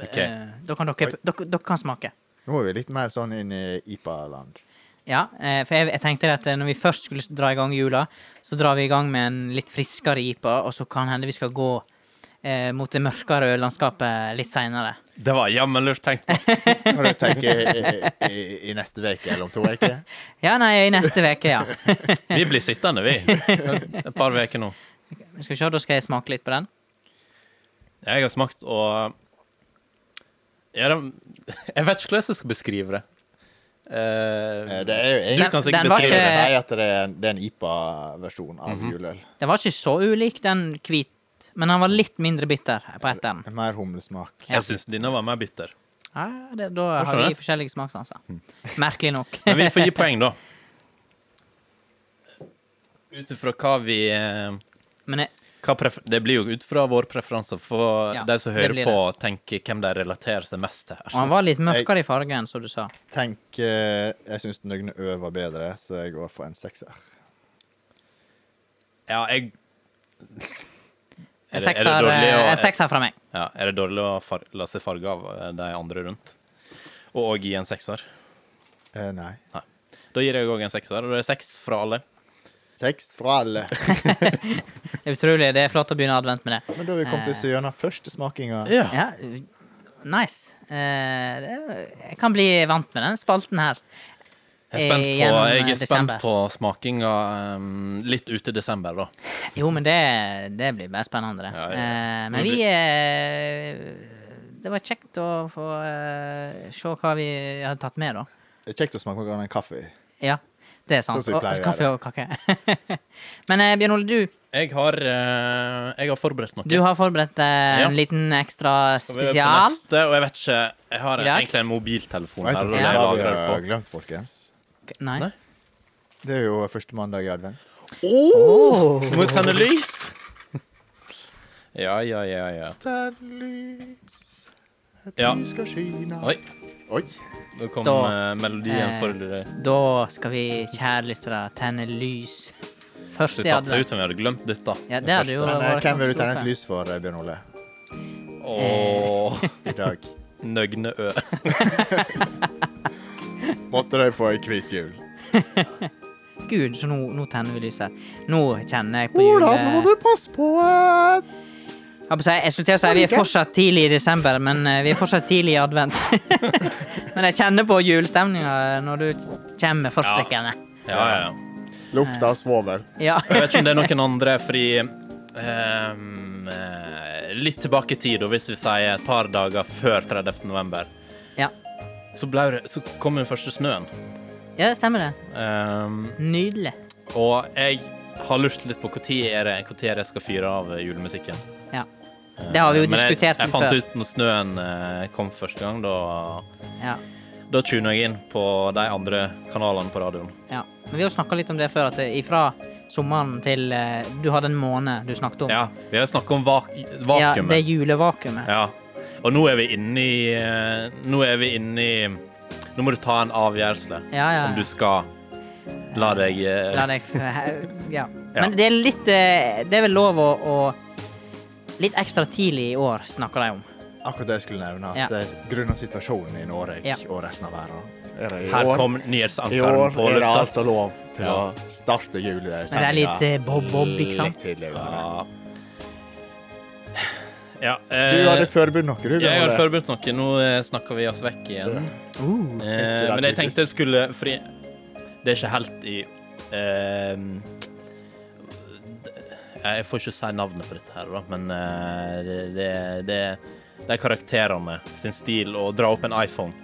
[SPEAKER 2] Ok.
[SPEAKER 1] eh, da kan dere, dere, dere kan smake.
[SPEAKER 4] Nå er vi litt mer sånn inn i IPA-land.
[SPEAKER 1] Ja, eh, for jeg, jeg tenkte at eh, når vi først skulle dra i gang jula, så drar vi i gang med en litt friskere IPA, og så kan hende vi skal gå eh, mot det mørkere øllandskapet litt seinere.
[SPEAKER 2] Det var jammen lurt tenkt. Mats.
[SPEAKER 4] Kan du tenke i, i, i neste uke eller om to uker?
[SPEAKER 1] Ja, nei, i neste uke, ja.
[SPEAKER 2] Vi blir sittende, vi. Et par uker nå.
[SPEAKER 1] Skal vi se, da skal jeg smake litt på den.
[SPEAKER 2] Jeg har smakt og ja, det, Jeg vet ikke hvordan jeg skal beskrive det. Eh,
[SPEAKER 4] Eh, Det er jo
[SPEAKER 2] du
[SPEAKER 4] egentlig
[SPEAKER 2] kan sikkert
[SPEAKER 1] den var
[SPEAKER 4] Jeg vil
[SPEAKER 2] beskrive det.
[SPEAKER 1] ikke-
[SPEAKER 4] si at det er, det er en IPA-versjon av juleøl.
[SPEAKER 1] Den var ikke så ulik den hvit, men den var litt mindre bitter på etteren.
[SPEAKER 4] Mer humlesmak.
[SPEAKER 2] Jeg syns denne var mer bitter.
[SPEAKER 1] Ja, det, da har
[SPEAKER 2] skjønner Mm.
[SPEAKER 1] vi forskjellige smakssanser. Merkelig nok.
[SPEAKER 2] Men vi får gi poeng, da. Ut ifra hva vi eh,
[SPEAKER 1] Men jeg,
[SPEAKER 2] hva prefer Det blir jo ut fra våre preferanser for
[SPEAKER 1] Ja,
[SPEAKER 2] de som
[SPEAKER 1] det
[SPEAKER 2] hører
[SPEAKER 1] blir
[SPEAKER 2] på, tenker hvem de relaterer seg mest til
[SPEAKER 1] og
[SPEAKER 2] her.
[SPEAKER 1] han var litt mørkere i fargen, som du sa.
[SPEAKER 4] Tenk, eh, Jeg syns Nøgne Ø var bedre, så jeg går for en sekser.
[SPEAKER 2] Ja, jeg
[SPEAKER 1] En
[SPEAKER 2] Er det, er
[SPEAKER 1] sekser
[SPEAKER 2] det dårlig
[SPEAKER 1] eh,
[SPEAKER 2] å
[SPEAKER 1] en
[SPEAKER 2] er,
[SPEAKER 1] sekser fra meg.
[SPEAKER 2] ja, er det dårlig å far, la seg farge av eh, de andre rundt? Og òg gi en sekser?
[SPEAKER 4] Eh, nei.
[SPEAKER 2] Da gir jeg òg en sekser. Og det er seks fra alle.
[SPEAKER 4] Tekst fra alle.
[SPEAKER 1] Det er utrolig. Det er flott å begynne advent med det.
[SPEAKER 4] Men da har vi kommet oss gjennom første smakinga.
[SPEAKER 1] Ja, nice. Eh, det- jeg kan bli vant med den spalten her.
[SPEAKER 2] Jeg er spent på,
[SPEAKER 1] Gjennom, eh,
[SPEAKER 2] jeg er spent
[SPEAKER 1] desember.
[SPEAKER 2] på smakinga um, litt ute i desember, da.
[SPEAKER 1] Jo, men det, det blir bare spennende, det.
[SPEAKER 2] Ja, ja.
[SPEAKER 1] Eh,
[SPEAKER 2] Det
[SPEAKER 1] men vi eh, Det var kjekt å få eh, se hva vi har tatt med, da.
[SPEAKER 4] Kjekt å smake på en kaffe.
[SPEAKER 1] Ja, det er sant.
[SPEAKER 4] Sånn som vi
[SPEAKER 1] Og-
[SPEAKER 4] pleier å
[SPEAKER 1] kaffe og kake. men eh, Bjørn Ole, du,
[SPEAKER 2] Jeg har, eh, jeg har forberedt noe.
[SPEAKER 1] du har forberedt eh,
[SPEAKER 2] Ja.
[SPEAKER 1] en liten ekstra
[SPEAKER 2] Så vi er på
[SPEAKER 1] spesial.
[SPEAKER 2] Neste, og jeg vet ikke Jeg har
[SPEAKER 1] I dag?
[SPEAKER 2] egentlig en mobiltelefon
[SPEAKER 4] Vet
[SPEAKER 2] her.
[SPEAKER 4] dere
[SPEAKER 2] og
[SPEAKER 4] hva
[SPEAKER 2] jeg
[SPEAKER 4] vi
[SPEAKER 2] lagrer det
[SPEAKER 4] har
[SPEAKER 2] på.
[SPEAKER 4] glemt, folkens?
[SPEAKER 1] Nei.
[SPEAKER 2] Nei.
[SPEAKER 4] Det er jo første mandag i advent.
[SPEAKER 1] Oh.
[SPEAKER 2] Må vi tenne lys? Ja, ja, ja, ja.
[SPEAKER 4] Der lys, et
[SPEAKER 2] Ja.
[SPEAKER 4] lys skal skine
[SPEAKER 2] Oi,
[SPEAKER 4] Oi.
[SPEAKER 2] nå kom
[SPEAKER 1] Da,
[SPEAKER 2] eh, melodien
[SPEAKER 1] eh,
[SPEAKER 2] for det.
[SPEAKER 1] Da skal vi, kjære lyttere, tenne lys.
[SPEAKER 2] Det
[SPEAKER 1] Først i
[SPEAKER 2] tatt seg
[SPEAKER 1] advent.
[SPEAKER 2] ut om jeg hadde glemt dette.
[SPEAKER 1] Ja, det hadde jo
[SPEAKER 4] Men eh,
[SPEAKER 1] vært
[SPEAKER 4] hvem vil du tenne
[SPEAKER 1] katastrofe.
[SPEAKER 4] et lys for, eh, Bjørn Ole,
[SPEAKER 2] Åh,
[SPEAKER 4] i dag?
[SPEAKER 2] nøgne ø.
[SPEAKER 4] Måtte de få ei hvit jul.
[SPEAKER 1] Gud, så nå, nå tenner vi lyset. Nå kjenner jeg på jule...
[SPEAKER 3] Ola, nå må du passe på eh,
[SPEAKER 1] Jeg, holdt på å si, jeg skulle til å si vi er fortsatt tidlig i desember, men eh, vi er fortsatt tidlig i advent. men jeg kjenner på julestemninga når du kommer med forstrekkene.
[SPEAKER 2] Ja, ja, ja.
[SPEAKER 4] Lukta av svovel.
[SPEAKER 1] Ja.
[SPEAKER 2] Jeg vet ikke om det er noen andre, fordi ehm, eh, Litt tilbake i tid, og hvis vi sier et par dager før 30. november,
[SPEAKER 1] Ja.
[SPEAKER 2] så, ble det, så kom den første snøen.
[SPEAKER 1] ja, det stemmer det.
[SPEAKER 2] Ehm,
[SPEAKER 1] Nydelig.
[SPEAKER 2] og jeg har lurt litt på når er det- hvor tid er det jeg skal fyre av julemusikken. Eh,
[SPEAKER 1] Ja. Det har vi jo
[SPEAKER 2] Men jeg,
[SPEAKER 1] diskutert
[SPEAKER 2] jeg
[SPEAKER 1] litt
[SPEAKER 2] fant
[SPEAKER 1] før.
[SPEAKER 2] ut når snøen eh, kom første gang, da,
[SPEAKER 1] Ja,
[SPEAKER 2] da tuna jeg inn på de andre kanalene på radioen.
[SPEAKER 1] ja. Men vi har snakka litt om det før, at det- ifra sommeren til eh, Du hadde en måned du snakket om.
[SPEAKER 2] Ja, vi har snakket om vak
[SPEAKER 1] Ja,
[SPEAKER 2] vakuumet.
[SPEAKER 1] det julevakuumet.
[SPEAKER 2] Ja. Og nå er vi inne i eh, Nå er vi inne i Nå må du ta en avgjørelse
[SPEAKER 1] Ja, ja.
[SPEAKER 2] om du skal la deg eh,
[SPEAKER 1] La deg f- ja.
[SPEAKER 2] Ja.
[SPEAKER 1] Men det er litt eh, Det er vel lov å, å Litt ekstra tidlig i år snakker de om.
[SPEAKER 4] Akkurat det jeg skulle nevne,
[SPEAKER 1] Ja.
[SPEAKER 4] at ja. grunnet situasjonen i Norge
[SPEAKER 1] Ja.
[SPEAKER 4] og resten av verden er det i
[SPEAKER 2] Her
[SPEAKER 4] år,
[SPEAKER 2] kom
[SPEAKER 4] i år
[SPEAKER 2] nyhetsankeren på
[SPEAKER 4] er det
[SPEAKER 2] lufta.
[SPEAKER 4] altså lov til
[SPEAKER 2] Ja.
[SPEAKER 4] å starte
[SPEAKER 1] Men det er
[SPEAKER 4] julesendinga
[SPEAKER 1] litt eh, bob-bob, ikke sant?
[SPEAKER 4] tidligere.
[SPEAKER 2] Ja. ja
[SPEAKER 4] Du
[SPEAKER 2] eh,
[SPEAKER 4] hadde forberedt noe, du.
[SPEAKER 2] jeg
[SPEAKER 4] Bjørn
[SPEAKER 2] har
[SPEAKER 4] Ole.
[SPEAKER 2] forberedt noe. Nå eh, snakker vi oss vekk igjen.
[SPEAKER 1] Uh,
[SPEAKER 2] Eh, men jeg
[SPEAKER 4] typisk.
[SPEAKER 2] tenkte jeg skulle Fordi det er ikke helt i eh, Jeg får ikke si navnet på dette her, da, men eh, det, det, det, det er karakterene sin stil å dra opp en iPhone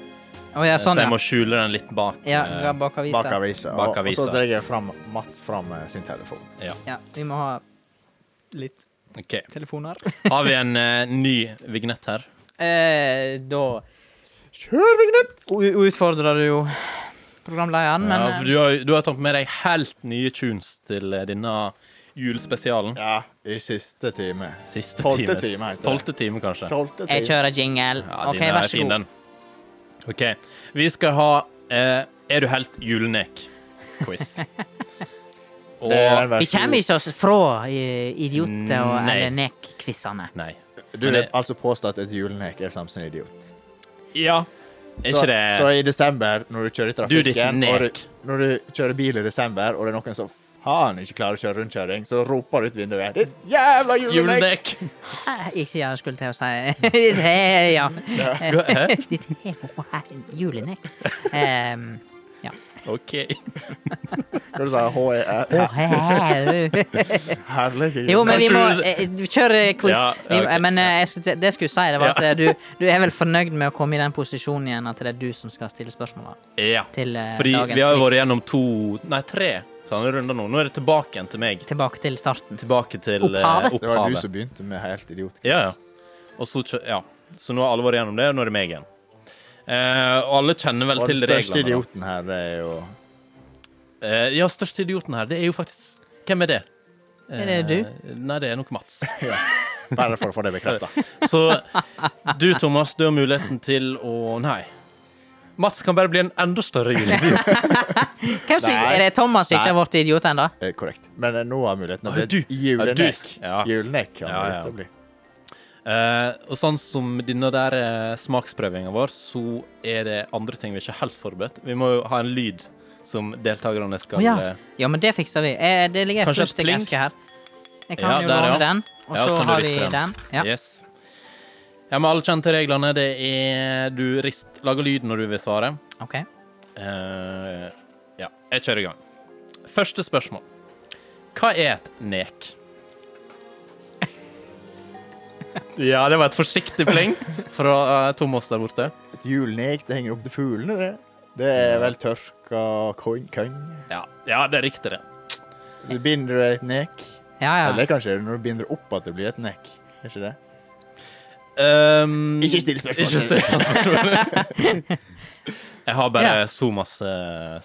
[SPEAKER 1] Å ja, sånn,
[SPEAKER 2] så jeg må
[SPEAKER 1] ja.
[SPEAKER 2] skjule den litt bak.
[SPEAKER 1] Ja,
[SPEAKER 2] eh,
[SPEAKER 1] dra bak avisa.
[SPEAKER 4] Bak avisa.
[SPEAKER 2] Bak
[SPEAKER 4] Og, og
[SPEAKER 2] avisa.
[SPEAKER 4] så drar jeg fram, Mats fram eh, sin telefon.
[SPEAKER 2] ja.
[SPEAKER 1] Ja, vi må ha litt
[SPEAKER 2] Ok.
[SPEAKER 1] telefoner.
[SPEAKER 2] Har vi en eh, ny vignett her?
[SPEAKER 1] eh, da
[SPEAKER 3] Kjør vignett!
[SPEAKER 1] u- utfordrer du jo programlederen, men eh,
[SPEAKER 2] ja, for du, har, du har tatt med deg helt nye tunes til eh, denne julespesialen.
[SPEAKER 4] Ja, i siste time.
[SPEAKER 2] Siste
[SPEAKER 4] Tolvte
[SPEAKER 2] times-
[SPEAKER 4] time heter det.
[SPEAKER 2] Tolvte time, kanskje.
[SPEAKER 4] Tolvte
[SPEAKER 1] eh, jeg
[SPEAKER 4] time.
[SPEAKER 1] kjører jingle.
[SPEAKER 2] Ja,
[SPEAKER 1] OK,
[SPEAKER 2] din er
[SPEAKER 1] vær så
[SPEAKER 2] fin,
[SPEAKER 1] god.
[SPEAKER 2] den. OK. Vi skal ha eh, Er du helt julenek-quiz.
[SPEAKER 4] Det er en
[SPEAKER 2] Og
[SPEAKER 1] Vi
[SPEAKER 4] versjon-
[SPEAKER 1] kommer ikke oss fra eh, idiot- og E
[SPEAKER 2] Nei.
[SPEAKER 1] eller nek-quizene.
[SPEAKER 2] Nei. Men
[SPEAKER 4] Du vil
[SPEAKER 2] det-
[SPEAKER 4] altså påstå at et julenek er det samme som en idiot.
[SPEAKER 2] Ja. Er
[SPEAKER 4] så,
[SPEAKER 2] ikke det
[SPEAKER 4] så i desember, når du kjører i
[SPEAKER 2] Du, ditt
[SPEAKER 4] trafikken og
[SPEAKER 2] nek.
[SPEAKER 4] du, Når du kjører bil i desember, og det er noen som faen ikke klarer å kjøre rundkjøring, så roper du ut vinduet Ditt jævla julenek!
[SPEAKER 2] Julenek.
[SPEAKER 1] Eh, Ikke jeg skulle til å si det, ja.
[SPEAKER 2] Hæ?
[SPEAKER 1] Ditt julenek. E Ehm, ja.
[SPEAKER 2] OK.
[SPEAKER 4] Hva sa du? HE? Herlige
[SPEAKER 1] Jo, men vi må
[SPEAKER 2] Kanskje du-
[SPEAKER 1] eh, du Kjør quiz.
[SPEAKER 2] Ja,
[SPEAKER 1] Vi-
[SPEAKER 2] ok.
[SPEAKER 1] Men eh, jeg skulle, det jeg skulle si, det var at eh, du, du er vel fornøyd med å komme i den posisjonen igjen at det er du som skal stille spørsmålene
[SPEAKER 2] Ja.
[SPEAKER 1] til eh,
[SPEAKER 2] Fordi
[SPEAKER 1] dagens
[SPEAKER 2] vi har jo vært
[SPEAKER 1] quiz.
[SPEAKER 2] gjennom to Nei, tre sånne runder nå. Nå er det tilbake igjen til meg.
[SPEAKER 1] Tilbake til starten.
[SPEAKER 2] Tilbake til eh,
[SPEAKER 1] Opphavet.
[SPEAKER 4] Det var du
[SPEAKER 2] opphavet.
[SPEAKER 4] som begynte med helt idiotquiz.
[SPEAKER 2] Ja, ja. Og så, kjø- ja. så nå har alle vært gjennom det, og nå er det meg igjen. Eh, og alle kjenner vel
[SPEAKER 4] Og
[SPEAKER 2] til
[SPEAKER 4] den største
[SPEAKER 2] reglene. da.
[SPEAKER 4] idioten her det er jo
[SPEAKER 2] Eh, ja, største idioten her, det er jo faktisk Hvem er det?
[SPEAKER 1] Er det du?
[SPEAKER 2] Eh, Nei, det er nok Mats.
[SPEAKER 4] Bare for å få det bekrefta.
[SPEAKER 2] Så du, Thomas, du har muligheten til å Nei. Mats kan bare bli en enda større juleidiot.
[SPEAKER 1] Hvem som,
[SPEAKER 4] Nei.
[SPEAKER 1] er det Thomas som ikke
[SPEAKER 2] Nei.
[SPEAKER 1] har vært idiot ennå?
[SPEAKER 4] Eh, korrekt. Men eh, nå har muligheten å
[SPEAKER 2] Ah,
[SPEAKER 4] bli
[SPEAKER 2] du-
[SPEAKER 4] et julenek.
[SPEAKER 2] Ja, du- ja.
[SPEAKER 4] Julenek kan
[SPEAKER 2] Ja,
[SPEAKER 4] det
[SPEAKER 2] ja.
[SPEAKER 4] lett å bli.
[SPEAKER 2] Eh, og sånn som denne der eh, smaksprøvinga vår, så er det andre ting vi ikke er helt forberedt. Vi må jo ha en lyd som deltakerne
[SPEAKER 1] Å,
[SPEAKER 2] skal
[SPEAKER 1] ja.
[SPEAKER 2] eh,
[SPEAKER 1] Ja, men det fikser vi. Eh, Det ligger ei
[SPEAKER 2] Kanskje et plink?
[SPEAKER 1] fløskeeske her. Jeg kan
[SPEAKER 2] Ja,
[SPEAKER 1] jo
[SPEAKER 2] der,
[SPEAKER 1] låne
[SPEAKER 2] ja.
[SPEAKER 1] den, og
[SPEAKER 2] Ja,
[SPEAKER 1] så,
[SPEAKER 2] så kan du
[SPEAKER 1] har vi
[SPEAKER 2] riste
[SPEAKER 1] den.
[SPEAKER 2] den.
[SPEAKER 1] Ja.
[SPEAKER 2] Yes. Ja, men alle kjenner til reglene. Det er du rist, lager lyd når du vil svare.
[SPEAKER 1] OK.
[SPEAKER 2] Eh, ja, jeg kjører i gang. Første spørsmål. Hva er et nek? ja, det var et forsiktig pling fra eh, Thomas der borte.
[SPEAKER 4] Et julenek, det henger opp til fuglene, det. Det er vel tørka koing, køng.
[SPEAKER 2] Ja, ja det er riktig, det.
[SPEAKER 4] Du binder du et nek.
[SPEAKER 1] Ja, ja.
[SPEAKER 4] Eller kanskje når du binder opp at det blir et nek. Er ikke det?
[SPEAKER 2] Um,
[SPEAKER 4] Ikke still spørsmål.
[SPEAKER 2] Ikke still spørsmål. jeg har bare
[SPEAKER 1] Ja.
[SPEAKER 2] så masse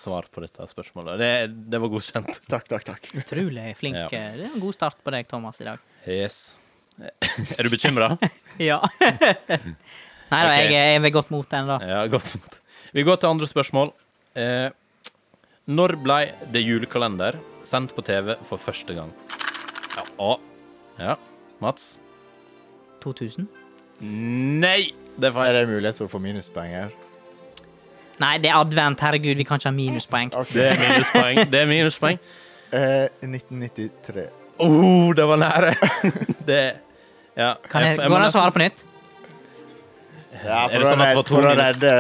[SPEAKER 2] svar på dette spørsmålet. Det, det var godkjent.
[SPEAKER 4] Takk, takk, takk.
[SPEAKER 1] Utrolig flink.
[SPEAKER 2] Ja.
[SPEAKER 1] eh, Det er en god start på deg, Thomas, i dag.
[SPEAKER 2] Yes. Er du bekymra?
[SPEAKER 1] Ja. Nei da,
[SPEAKER 2] Ok.
[SPEAKER 1] jeg er ved godt mot ennå.
[SPEAKER 2] ja, godt. Vi går til andre spørsmål. Eh, når ble det julekalender sendt på TV for første gang? Ja, å. ja. Mats?
[SPEAKER 1] 2000?
[SPEAKER 2] Nei! Det var
[SPEAKER 4] Er det mulighet for å få minuspoeng her?
[SPEAKER 1] Nei, det er advent. Herregud, vi kan ikke ha minuspoeng.
[SPEAKER 4] Ok.
[SPEAKER 2] Det er minuspoeng. Det er minuspoeng.
[SPEAKER 4] Eh, 1993.
[SPEAKER 2] Oh, det var nære! Det ja. altså-
[SPEAKER 1] Kan jeg, går
[SPEAKER 2] må
[SPEAKER 1] det an å
[SPEAKER 2] nesten-
[SPEAKER 1] svare på nytt?
[SPEAKER 4] Ja,
[SPEAKER 2] Er
[SPEAKER 4] for,
[SPEAKER 2] det
[SPEAKER 4] å,
[SPEAKER 2] sånn at det
[SPEAKER 4] redde,
[SPEAKER 2] var to
[SPEAKER 4] for å
[SPEAKER 2] minus?
[SPEAKER 4] redde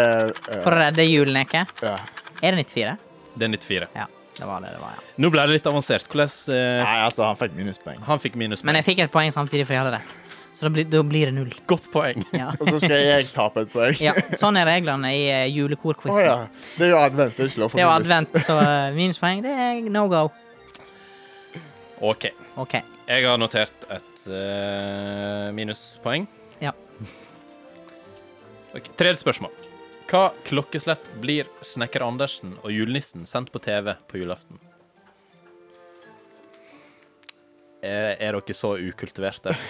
[SPEAKER 4] eh,
[SPEAKER 1] For å redde juleneket?
[SPEAKER 4] ja.
[SPEAKER 1] Er det 94?
[SPEAKER 2] Det er 94.
[SPEAKER 1] Ja, det var det det var, ja.
[SPEAKER 2] Nå ble det litt avansert. Hvordan eh,
[SPEAKER 4] Nei, altså, han fikk minuspoeng.
[SPEAKER 2] Han fikk minuspoeng.
[SPEAKER 1] Men jeg fikk et poeng samtidig, for jeg hadde rett. Så da blir, da blir det null.
[SPEAKER 2] Godt poeng.
[SPEAKER 1] Ja.
[SPEAKER 4] Og så skal jeg tape et poeng.
[SPEAKER 1] ja. Sånn er reglene i eh,
[SPEAKER 4] Å
[SPEAKER 1] julekorquizen.
[SPEAKER 4] ja. Det er jo advent, så det er ikke lov for
[SPEAKER 1] Det er jo
[SPEAKER 4] minus.
[SPEAKER 1] advent, så eh, minuspoeng, det er no go.
[SPEAKER 2] OK.
[SPEAKER 1] OK.
[SPEAKER 2] Jeg har notert et eh, minuspoeng.
[SPEAKER 1] Ja.
[SPEAKER 2] Ok, Tredje spørsmål. Hva klokkeslett blir Snekker Andersen og julenissen sendt på TV på julaften? Er, er dere så ukultiverte?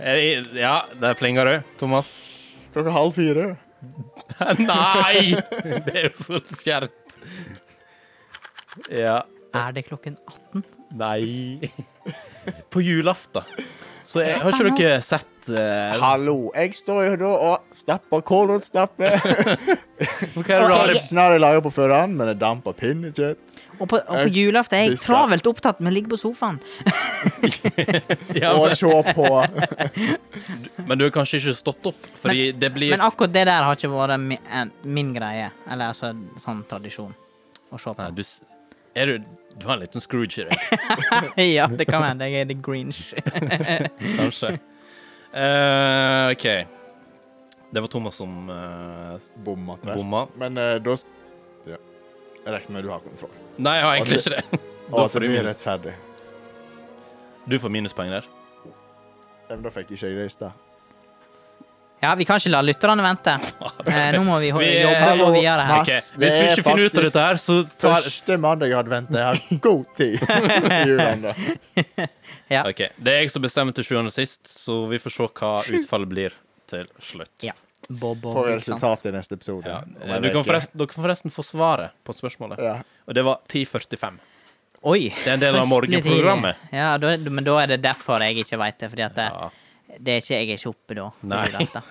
[SPEAKER 2] Er, det- Eh, ja, der plinga du, Thomas.
[SPEAKER 4] Klokka halv fire.
[SPEAKER 2] Nei! Det er jo så fjernt. Ja.
[SPEAKER 1] Er det klokken 18?
[SPEAKER 2] Nei. På julaften. Så jeg, har ikke dere sett eh,
[SPEAKER 4] Hallo, jeg står jo da og stapper kålrotstappe.
[SPEAKER 2] Hva er det du har i
[SPEAKER 4] Snarere lager på forhånd, men det damper pinnekjøtt.
[SPEAKER 1] Og på, og på julaften er jeg
[SPEAKER 4] Fisker.
[SPEAKER 1] travelt opptatt med å ligge på sofaen.
[SPEAKER 2] ja,
[SPEAKER 4] Og
[SPEAKER 2] men,
[SPEAKER 4] se på
[SPEAKER 2] men du har kanskje ikke stått opp, fordi det blir
[SPEAKER 1] Men akkurat det der har ikke vært min, eh, min greie. Eller altså sånn tradisjon å se på.
[SPEAKER 2] Nei, du, s- er du, du har en liten Scrooge i deg,
[SPEAKER 1] ja, det kan hende jeg er the grinch.
[SPEAKER 2] kanskje. Eh, OK. Det var Thomas som eh,
[SPEAKER 4] Bomma tvert.
[SPEAKER 2] bomma.
[SPEAKER 4] Men eh, da sk- ja. Jeg regner med du har kontroll.
[SPEAKER 2] Nei, jeg har egentlig
[SPEAKER 4] Og
[SPEAKER 2] ikke det.
[SPEAKER 4] Og
[SPEAKER 2] Da
[SPEAKER 4] at
[SPEAKER 2] får
[SPEAKER 4] det
[SPEAKER 2] du
[SPEAKER 4] blir
[SPEAKER 2] minus.
[SPEAKER 4] rettferdig.
[SPEAKER 2] Du får minuspoeng der.
[SPEAKER 4] Ja, men Da fikk ikke jeg det i stad.
[SPEAKER 1] Ja, vi kan ikke la lytterne vente. Eh, nå må vi ho-
[SPEAKER 2] Vi er-
[SPEAKER 1] jobbe
[SPEAKER 4] Hallo,
[SPEAKER 1] og videre her.
[SPEAKER 4] Mats,
[SPEAKER 2] Ok, Hvis
[SPEAKER 4] det
[SPEAKER 2] vi
[SPEAKER 4] er
[SPEAKER 2] ikke finner ut av
[SPEAKER 4] faktisk
[SPEAKER 2] dette her, så tar
[SPEAKER 4] Første mandag jeg har advent. Jeg har god tid i julene.
[SPEAKER 1] Ja.
[SPEAKER 2] Ok, Det er jeg som bestemmer til sjuende og sist, så vi får se hva utfallet blir til slutt.
[SPEAKER 1] Ja. Bob og
[SPEAKER 4] Får
[SPEAKER 1] ikke sant?
[SPEAKER 4] resultatet i neste episode.
[SPEAKER 2] Ja,
[SPEAKER 4] om
[SPEAKER 2] eh,
[SPEAKER 4] en
[SPEAKER 2] Du kan
[SPEAKER 4] uke.
[SPEAKER 2] forresten, dere kan forresten få svaret på spørsmålet.
[SPEAKER 4] ja.
[SPEAKER 2] Og det var 10.45.
[SPEAKER 1] Oi!
[SPEAKER 2] Det er en del av
[SPEAKER 1] fryktelig tidlig.
[SPEAKER 2] morgenprogrammet.
[SPEAKER 1] Ja, da, men da er det derfor jeg ikke veit det. Fordi at det,
[SPEAKER 2] Ja.
[SPEAKER 1] det er ikke, jeg er ikke oppe da. på
[SPEAKER 2] Nei.
[SPEAKER 1] julaften.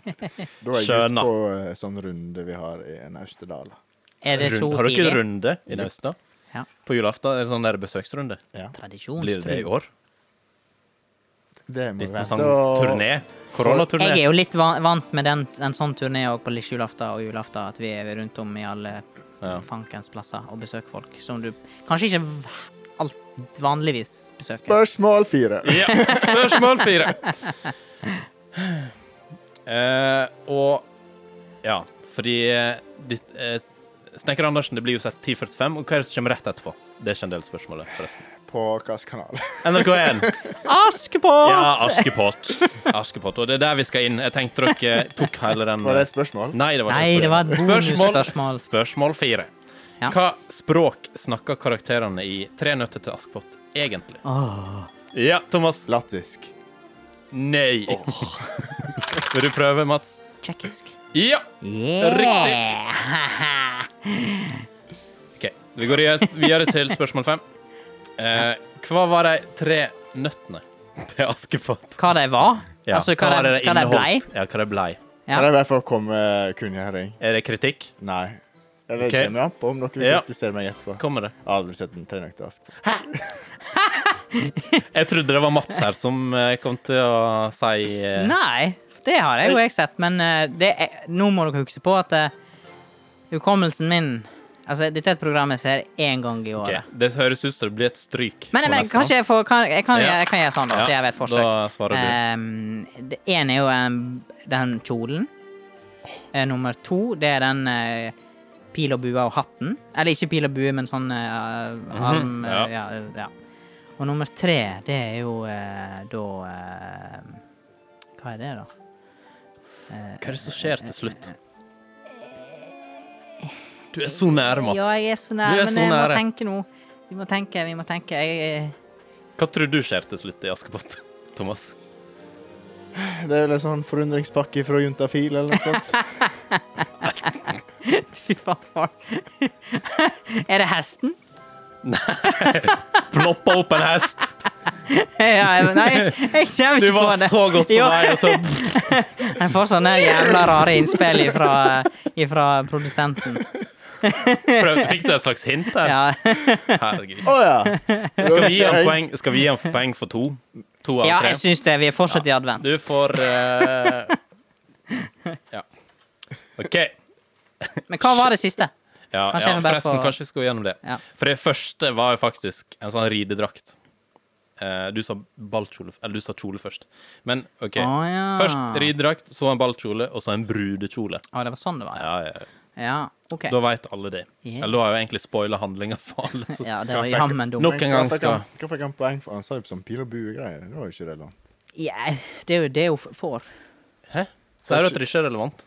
[SPEAKER 4] Da er jeg
[SPEAKER 2] Skjønna.
[SPEAKER 4] ute på eh, sånn runde vi har i Naustedal.
[SPEAKER 1] Er det så
[SPEAKER 2] Rund- Har dere
[SPEAKER 1] tidlig?
[SPEAKER 2] runde i Naustdal?
[SPEAKER 1] Ja.
[SPEAKER 2] På julaften er det sånn der besøksrunde.
[SPEAKER 4] Ja.
[SPEAKER 2] Blir det det i
[SPEAKER 1] Tradisjonstro.
[SPEAKER 2] år?
[SPEAKER 4] Det må vi
[SPEAKER 2] Litt med
[SPEAKER 4] vente
[SPEAKER 2] sånn
[SPEAKER 4] og
[SPEAKER 2] turné?
[SPEAKER 1] Jeg er
[SPEAKER 2] Koronaturné?
[SPEAKER 1] jo litt va- vant med den, en sånn turné òg på lille julaften og julaften, at vi er rundt om i alle
[SPEAKER 2] Ja.
[SPEAKER 1] fankens plasser og besøker folk som du kanskje ikke v- alt vanligvis besøker.
[SPEAKER 4] Spørsmål fire.
[SPEAKER 2] Ja. Spørsmål fire. Eh, og Ja, fordi eh, ditt, eh, Snekker Andersen det blir jo sett 10.45, og hva er det som kommer rett etterpå? Det er ikke en del spørsmål, forresten.
[SPEAKER 4] På hvilken kanal?
[SPEAKER 2] NRK1.
[SPEAKER 1] Askepott!
[SPEAKER 2] E Ja, Askepott. Askepott. Og det er der vi skal inn. Jeg tenkte dere tok hele den eh,
[SPEAKER 4] Var det et spørsmål?
[SPEAKER 2] Nei, det var ikke
[SPEAKER 1] Nei,
[SPEAKER 2] et
[SPEAKER 1] det var et
[SPEAKER 2] spørsmål.
[SPEAKER 1] bonusspørsmål.
[SPEAKER 2] Spørsmål fire.
[SPEAKER 1] Ja.
[SPEAKER 2] Hva språk snakker karakterene i Tre nøtter til Askepott egentlig? Ah.
[SPEAKER 1] Åh.
[SPEAKER 2] Ja, Thomas.
[SPEAKER 4] Latvisk.
[SPEAKER 2] Nei. Vil du prøve, Mats?
[SPEAKER 1] Tsjekkisk.
[SPEAKER 2] Ja.
[SPEAKER 1] Yeah!
[SPEAKER 2] OK. Vi går igjen- videre til spørsmål fem. Eh, hva var de tre nøttene til Askepott?
[SPEAKER 1] Hva de var?
[SPEAKER 2] Ja,
[SPEAKER 1] Altså hva,
[SPEAKER 2] var
[SPEAKER 1] de,
[SPEAKER 2] det
[SPEAKER 1] hva de blei?
[SPEAKER 2] inneholdt? Ja, hva de blei.
[SPEAKER 1] Ja.
[SPEAKER 4] Kan jeg i hvert fall komme med kunngjøring?
[SPEAKER 2] Er det kritikk?
[SPEAKER 4] Nei. Eller
[SPEAKER 2] Ok.
[SPEAKER 4] kommer an på om noen vil
[SPEAKER 2] Ja.
[SPEAKER 4] kritisere meg etterpå.
[SPEAKER 2] Kommer det?
[SPEAKER 4] Jeg har Aldri sett en trenøkt ask.
[SPEAKER 2] Jeg trodde det var Mats her som eh, kom til å si eh,
[SPEAKER 1] Nei, det har jeg jo jeg sett, men eh, det er, nå må dere huske på at eh, hukommelsen min Altså, dette er et program jeg ser én gang i
[SPEAKER 2] Ok,
[SPEAKER 1] året.
[SPEAKER 2] Det høres ut som det blir et stryk.
[SPEAKER 1] Men,
[SPEAKER 2] på
[SPEAKER 1] men
[SPEAKER 2] neste
[SPEAKER 1] kanskje jeg får kan, jeg, kan,
[SPEAKER 2] Ja.
[SPEAKER 1] jeg kan gjøre sånn, da,
[SPEAKER 2] Ja,
[SPEAKER 1] så jeg vet forsøk.
[SPEAKER 2] Da svarer du.
[SPEAKER 1] Um, det ene er jo um, den kjolen. Eh, nummer to, det er den eh, pil og bue og hatten. Eller ikke pil og bue, men sånn eh, arm
[SPEAKER 2] Mhm,
[SPEAKER 1] eh,
[SPEAKER 2] ja.
[SPEAKER 1] ja. eh, ja. Og nummer tre, det er jo eh, da eh, Hva er det, da? Eh,
[SPEAKER 2] Hva er det som skjer til slutt? Du er så nære, Mats.
[SPEAKER 1] Ja, jeg er så
[SPEAKER 2] Du
[SPEAKER 1] nær,
[SPEAKER 2] er
[SPEAKER 1] men
[SPEAKER 2] så
[SPEAKER 1] jeg må
[SPEAKER 2] nære.
[SPEAKER 1] tenke nå. Vi må tenke, vi må tenke. Jeg,
[SPEAKER 2] Hva tror du skjer til slutt i Askepott, Thomas?
[SPEAKER 4] Det er vel en sånn forundringspakke fra Juntafil eller noe sånt.
[SPEAKER 1] jeg Fy faen. er det hesten?
[SPEAKER 2] Ploppa opp en hest!
[SPEAKER 1] ja, jeg- nei, jeg kommer
[SPEAKER 2] Du
[SPEAKER 1] ikke på
[SPEAKER 2] var
[SPEAKER 1] det.
[SPEAKER 2] så godt på
[SPEAKER 1] Jo.
[SPEAKER 2] vei, og så
[SPEAKER 1] Jeg får sånne jævla rare innspill ifra, eh, ifra produsenten.
[SPEAKER 2] prøv. Fikk du et slags hint der?
[SPEAKER 1] Ja.
[SPEAKER 2] Herregud.
[SPEAKER 4] Å ja!
[SPEAKER 2] Skal vi gi ham poeng, skal vi gi ham poeng for to? To av
[SPEAKER 1] ja,
[SPEAKER 2] tre?
[SPEAKER 1] jeg syns det. Vi er fortsatt i advent.
[SPEAKER 2] Du får eh, Ja. OK.
[SPEAKER 1] Men hva var det siste?
[SPEAKER 2] Ja,
[SPEAKER 1] Kanskje
[SPEAKER 2] ja
[SPEAKER 1] jeg må bare
[SPEAKER 2] forresten,
[SPEAKER 1] få-
[SPEAKER 2] kanskje vi skal gå gjennom det.
[SPEAKER 1] Ja.
[SPEAKER 2] For det første var jo faktisk en sånn ridedrakt. Eh, du sa ballkjole f- Eller du sa kjole først. Men OK.
[SPEAKER 1] Å, ja.
[SPEAKER 2] Først ridedrakt, så en ballkjole, og så en brudekjole.
[SPEAKER 1] Å, det var sånn det var?
[SPEAKER 2] Ja, ja, ja.
[SPEAKER 1] Ja, OK.
[SPEAKER 2] Da veit alle det.
[SPEAKER 1] Yes.
[SPEAKER 2] Eller da har jeg jo egentlig spoila handlinga for alle. Så.
[SPEAKER 1] Ja, det var jammen dumt.
[SPEAKER 2] Nok en gang skal
[SPEAKER 4] Hva fikk han poeng for? Han sa jo sånn pil og bue-greier. Det var jo ikke relevant.
[SPEAKER 1] Ja, det er jo det hun f- får.
[SPEAKER 2] Hæ? Sier du at det ikke er relevant?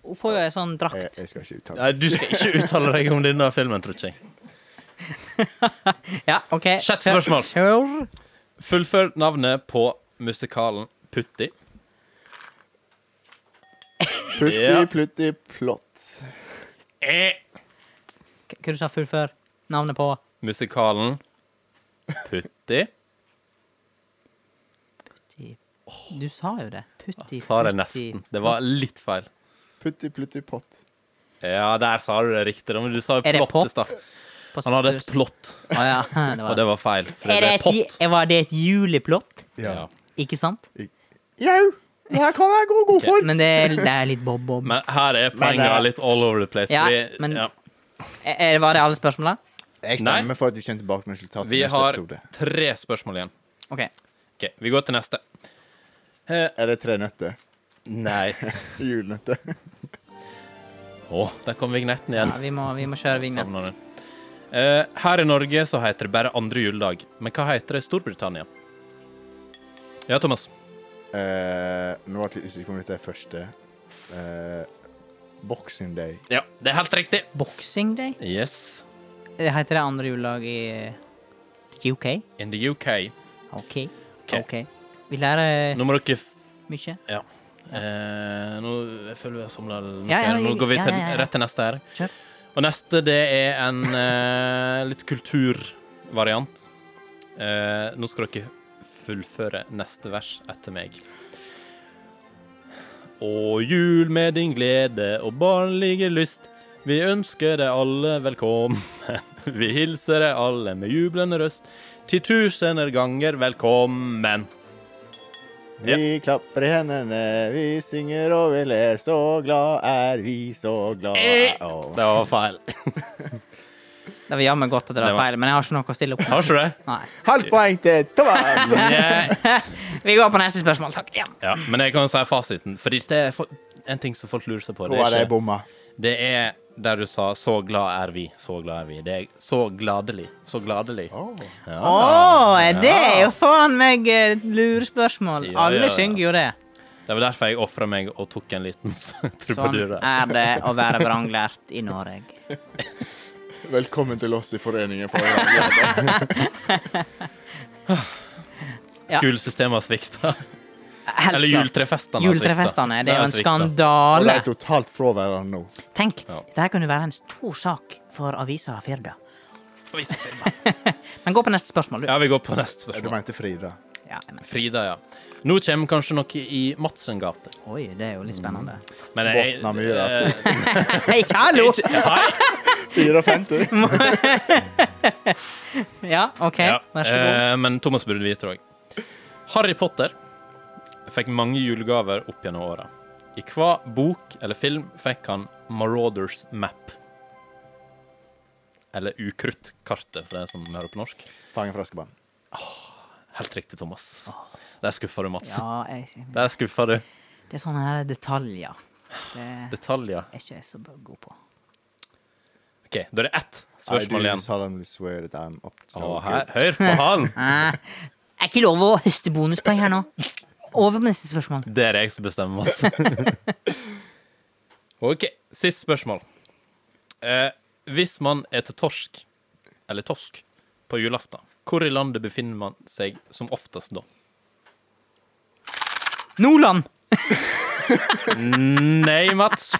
[SPEAKER 1] Hun får jo ei sånn
[SPEAKER 4] Jeg,
[SPEAKER 1] drakt.
[SPEAKER 4] jeg skal ikke uttale
[SPEAKER 2] Nei, du skal ikke uttale deg om denne filmen, tror ikke jeg.
[SPEAKER 1] Ja, OK.
[SPEAKER 2] Sjette spørsmål.
[SPEAKER 1] Kjør.
[SPEAKER 2] Fullfør navnet på musikalen Putti.
[SPEAKER 4] Plutti,
[SPEAKER 2] Ja.
[SPEAKER 4] plutti, plott.
[SPEAKER 2] Eh.
[SPEAKER 1] K- Hva du sa du fullfør? Navnet på
[SPEAKER 2] Musikalen Putti.
[SPEAKER 1] Du sa jo det. Putti,
[SPEAKER 2] Sa det
[SPEAKER 1] putti.
[SPEAKER 2] nesten. Det var litt feil.
[SPEAKER 4] Plutti, plutti, pott.
[SPEAKER 2] Ja, der sa du det riktig. da, Men du sa jo
[SPEAKER 1] Er det
[SPEAKER 2] plott i stad.
[SPEAKER 1] På
[SPEAKER 2] Han hadde et
[SPEAKER 1] sykehus.
[SPEAKER 2] plott,
[SPEAKER 1] Å ja, det var
[SPEAKER 2] og det
[SPEAKER 1] det.
[SPEAKER 2] var feil. For det
[SPEAKER 1] Er det
[SPEAKER 2] ble
[SPEAKER 1] et,
[SPEAKER 2] pott.
[SPEAKER 1] ju- var det et juleplott?
[SPEAKER 2] Ja.
[SPEAKER 1] Ikke sant?
[SPEAKER 3] Jau, det her kan jeg gå god for.
[SPEAKER 1] Men det er, det er litt bob-bob.
[SPEAKER 2] Men her er
[SPEAKER 4] Men,
[SPEAKER 2] poenget
[SPEAKER 4] eh,
[SPEAKER 2] litt all over the place.
[SPEAKER 1] Ja,
[SPEAKER 2] vi,
[SPEAKER 1] men-
[SPEAKER 2] ja.
[SPEAKER 1] Er- er- Var det alle spørsmåla?
[SPEAKER 4] Jeg
[SPEAKER 2] Nei.
[SPEAKER 4] stemmer for at vi kommer tilbake med resultatet
[SPEAKER 2] vi
[SPEAKER 4] i neste
[SPEAKER 2] har
[SPEAKER 4] episode.
[SPEAKER 2] tre spørsmål igjen.
[SPEAKER 1] OK.
[SPEAKER 2] Ok, Vi går til neste. Eh,
[SPEAKER 4] Er det tre nøtter?
[SPEAKER 2] Nei.
[SPEAKER 4] Julenøtter.
[SPEAKER 2] Å, der kom vignetten igjen.
[SPEAKER 1] Ja, vi, må, vi må kjøre
[SPEAKER 2] Savner
[SPEAKER 1] vignett.
[SPEAKER 2] den. Eh, her i Norge så heter det bare andre juledag. Men hva heter det i Storbritannia? Ja, Thomas.
[SPEAKER 4] Eh, nå ble jeg litt usikker på om dette er første. Eh, Boxing Day.
[SPEAKER 2] Ja, det er helt riktig.
[SPEAKER 1] Boxing Day?
[SPEAKER 2] Yes.
[SPEAKER 1] Eh, Heter det andre juledag i eh, UK?
[SPEAKER 2] In the UK.
[SPEAKER 1] OK. OK. Vi lærer
[SPEAKER 2] Nå må dere f
[SPEAKER 1] mye.
[SPEAKER 2] Ja. Eh, nå jeg føler jeg somler noe
[SPEAKER 1] Ja, ja,
[SPEAKER 2] her. Nå
[SPEAKER 1] vi-
[SPEAKER 2] går vi
[SPEAKER 1] ja,
[SPEAKER 2] til,
[SPEAKER 1] ja, ja.
[SPEAKER 2] rett til neste her.
[SPEAKER 1] Kjør.
[SPEAKER 2] Og neste, det er en eh, litt kulturvariant. Eh, nå skal dere fullføre neste vers etter meg. Og jul med din glede og barnlige lyst. Vi ønsker deg alle velkommen. Vi hilser deg alle med jublende røst. Titusener ganger velkommen.
[SPEAKER 4] Vi klapper i hendene, vi synger og vi ler. Så glad er vi, så glad
[SPEAKER 2] Eh.
[SPEAKER 4] er Åh.
[SPEAKER 2] Det var feil.
[SPEAKER 1] Det var jammen godt at det
[SPEAKER 2] Det
[SPEAKER 1] var
[SPEAKER 2] var-
[SPEAKER 1] feil, men jeg har ikke noe å stille opp med.
[SPEAKER 2] Har ikke det?
[SPEAKER 1] Nei.
[SPEAKER 4] Halvt poeng til Thomas!
[SPEAKER 2] Nei.
[SPEAKER 1] Vi går på neste spørsmål, takk. Ja.
[SPEAKER 2] Ja, men jeg kan si fasiten, for dette er fo- en ting som folk lurer seg på.
[SPEAKER 4] Nå
[SPEAKER 2] Det
[SPEAKER 4] har
[SPEAKER 2] er,
[SPEAKER 4] de
[SPEAKER 2] ikke,
[SPEAKER 4] bomma.
[SPEAKER 2] det er der du sa 'så glad er vi', 'så glad er vi'. Det er så gladelig. Så gladelig.
[SPEAKER 1] Å,
[SPEAKER 2] Ah,
[SPEAKER 1] det er jo faen meg eh, lurespørsmål.
[SPEAKER 2] Ja, ja,
[SPEAKER 1] Alle
[SPEAKER 2] ja.
[SPEAKER 1] synger jo det.
[SPEAKER 2] Det var derfor jeg ofra meg og tok en liten s-
[SPEAKER 1] Sånn
[SPEAKER 2] trubadur. der.
[SPEAKER 1] er det å være vranglært i Norge.
[SPEAKER 4] Velkommen til oss i Foreningen for Radioleder.
[SPEAKER 1] ja.
[SPEAKER 2] Skolesystemet har svikta.
[SPEAKER 1] Helt
[SPEAKER 2] Eller
[SPEAKER 1] klart.
[SPEAKER 2] juletrefestene har svikta.
[SPEAKER 1] Juletrefestene. Det er jo en
[SPEAKER 2] svikta.
[SPEAKER 4] Og de
[SPEAKER 1] skandale.
[SPEAKER 4] er totalt fra hverandre nå.
[SPEAKER 1] Tenk,
[SPEAKER 2] Ja.
[SPEAKER 1] dette kunne være en stor sak for avisa Firda.
[SPEAKER 2] Oi, så fint.
[SPEAKER 1] Men gå på neste spørsmål, du.
[SPEAKER 2] Ja, vi går på neste
[SPEAKER 4] Du
[SPEAKER 2] spørsmål.
[SPEAKER 4] mente Frida.
[SPEAKER 1] Ja, jeg mener.
[SPEAKER 2] Frida, ja. Nå kommer kanskje noe i Madsen gate.
[SPEAKER 1] Oi, det er jo litt spennende.
[SPEAKER 2] Men
[SPEAKER 4] Botna myra.
[SPEAKER 2] eh,
[SPEAKER 1] Hei, hallo!
[SPEAKER 2] ikke- Hei.
[SPEAKER 4] 54.
[SPEAKER 1] Ja, OK.
[SPEAKER 2] Ja,
[SPEAKER 1] Vær så god.
[SPEAKER 2] eh, men Thomas burde vite det òg. Harry Potter fikk mange julegaver opp gjennom åra. I hva bok eller film fikk han Marauders Map? Eller Ukruttkartet, for den som hører på norsk.
[SPEAKER 4] Fangen fra Askeban.
[SPEAKER 2] Helt riktig, Thomas. Der skuffa du, Mats.
[SPEAKER 1] Ja, jeg,
[SPEAKER 2] Der skuffa du.
[SPEAKER 1] det er sånne her detaljer. Det er
[SPEAKER 2] Detaljer.
[SPEAKER 1] ikke jeg så god på.
[SPEAKER 2] OK, da er det ett
[SPEAKER 4] I
[SPEAKER 2] spørsmål
[SPEAKER 4] do
[SPEAKER 2] igjen.
[SPEAKER 4] solemnly swear that I'm up to
[SPEAKER 2] Å,
[SPEAKER 4] no
[SPEAKER 2] her,
[SPEAKER 4] good.
[SPEAKER 2] hør på halen!
[SPEAKER 1] Eh, er ikke lov å høste bonuspoeng her nå. Over på neste spørsmål.
[SPEAKER 2] Det er det jeg som bestemmer, Mats. OK, siste spørsmål. Eh, hvis man eter torsk, eller tosk, på julaften, hvor i landet befinner man seg som oftest da?
[SPEAKER 1] Nordland!
[SPEAKER 2] Nei, Mats.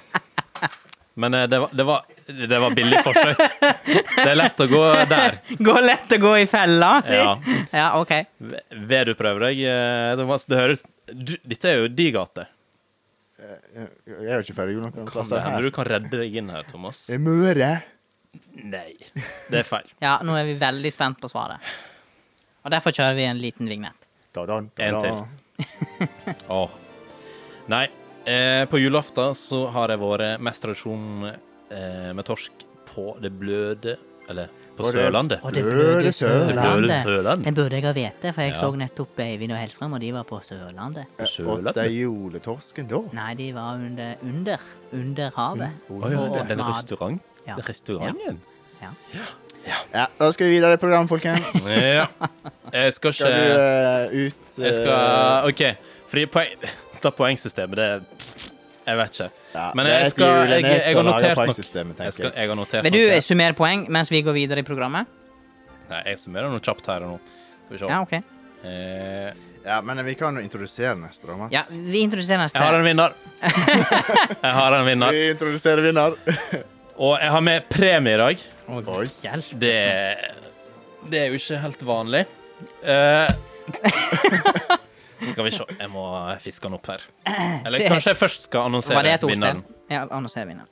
[SPEAKER 2] Men eh, det, var, det, var, det var billig forsøk. Det er lett å gå der.
[SPEAKER 1] Går lett å gå i fella, si. Ja.
[SPEAKER 2] Ja.
[SPEAKER 1] OK.
[SPEAKER 2] V- Vil du prøve deg, eh, Thomas? Det høres du, Dette er jo di gate.
[SPEAKER 4] Jeg er jo ikke ferdig. Jonas.
[SPEAKER 2] Kan det hende du kan redde deg inn her, Thomas?
[SPEAKER 4] Det er Møre.
[SPEAKER 2] Nei. Det er feil.
[SPEAKER 1] Ja, nå er vi veldig spent på svaret. Og derfor kjører vi en liten vignett.
[SPEAKER 4] Da, da, da,
[SPEAKER 2] En
[SPEAKER 4] da.
[SPEAKER 2] til. Åh. Nei, eh, på julaften så har det vært mest tradisjon eh, med torsk på det bløde Eller på
[SPEAKER 4] På det-
[SPEAKER 2] Sørlandet.
[SPEAKER 1] Og det
[SPEAKER 4] Bløde
[SPEAKER 1] bløde
[SPEAKER 4] Sørlandet.
[SPEAKER 2] Det bløde
[SPEAKER 1] Sørlandet.
[SPEAKER 2] Sørlandet.
[SPEAKER 1] Den burde jeg ha vite, for jeg
[SPEAKER 2] Ja.
[SPEAKER 1] så nettopp Eivind og Hellstrøm, og de var på Sørlandet.
[SPEAKER 4] Og
[SPEAKER 2] Sørlandet?
[SPEAKER 4] de juletorsken da.
[SPEAKER 1] Nei, de var under under, under havet.
[SPEAKER 2] Å ja,
[SPEAKER 1] Og- og
[SPEAKER 2] den
[SPEAKER 1] mat.
[SPEAKER 2] restaurant.
[SPEAKER 1] Ja.
[SPEAKER 2] Den restauranten.
[SPEAKER 1] Ja.
[SPEAKER 4] Ja, da skal vi videre i programmet, folkens.
[SPEAKER 2] Ja. Jeg skal
[SPEAKER 4] Skal du
[SPEAKER 2] ikke
[SPEAKER 4] eh, ut eh,
[SPEAKER 2] Jeg skal OK. Fordi poeng, da poengsystemet, det Jeg vet ikke.
[SPEAKER 4] ja,
[SPEAKER 2] Men
[SPEAKER 4] det er
[SPEAKER 2] jeg
[SPEAKER 4] til
[SPEAKER 2] skal Jeg,
[SPEAKER 4] julenes
[SPEAKER 2] jeg, har
[SPEAKER 4] som lager
[SPEAKER 2] notert noe.
[SPEAKER 4] poengsystemet,
[SPEAKER 2] Jeg,
[SPEAKER 4] tenker
[SPEAKER 2] skal, jeg har notert
[SPEAKER 1] Vil du
[SPEAKER 2] noe.
[SPEAKER 1] summere poeng mens vi går videre i programmet?
[SPEAKER 2] Nei, jeg summerer noe kjapt her og nå. Skal vi se.
[SPEAKER 1] Ja, OK.
[SPEAKER 2] Eh,
[SPEAKER 4] Ja, men vi kan jo introdusere neste, da, Mats.
[SPEAKER 1] Ja, vi introduserer neste.
[SPEAKER 2] Jeg har en vinner. Jeg har en vinner.
[SPEAKER 4] Vi introduserer vinner.
[SPEAKER 2] Og jeg har med premie i dag.
[SPEAKER 4] Oi.
[SPEAKER 2] Det, det er jo ikke helt vanlig. Eh, skal vi se. Jeg må fiske den opp her. Eller kanskje jeg først skal
[SPEAKER 1] Var det
[SPEAKER 2] annonsere
[SPEAKER 1] et ordspill?
[SPEAKER 2] vinneren.
[SPEAKER 1] Ja, annonser vinneren.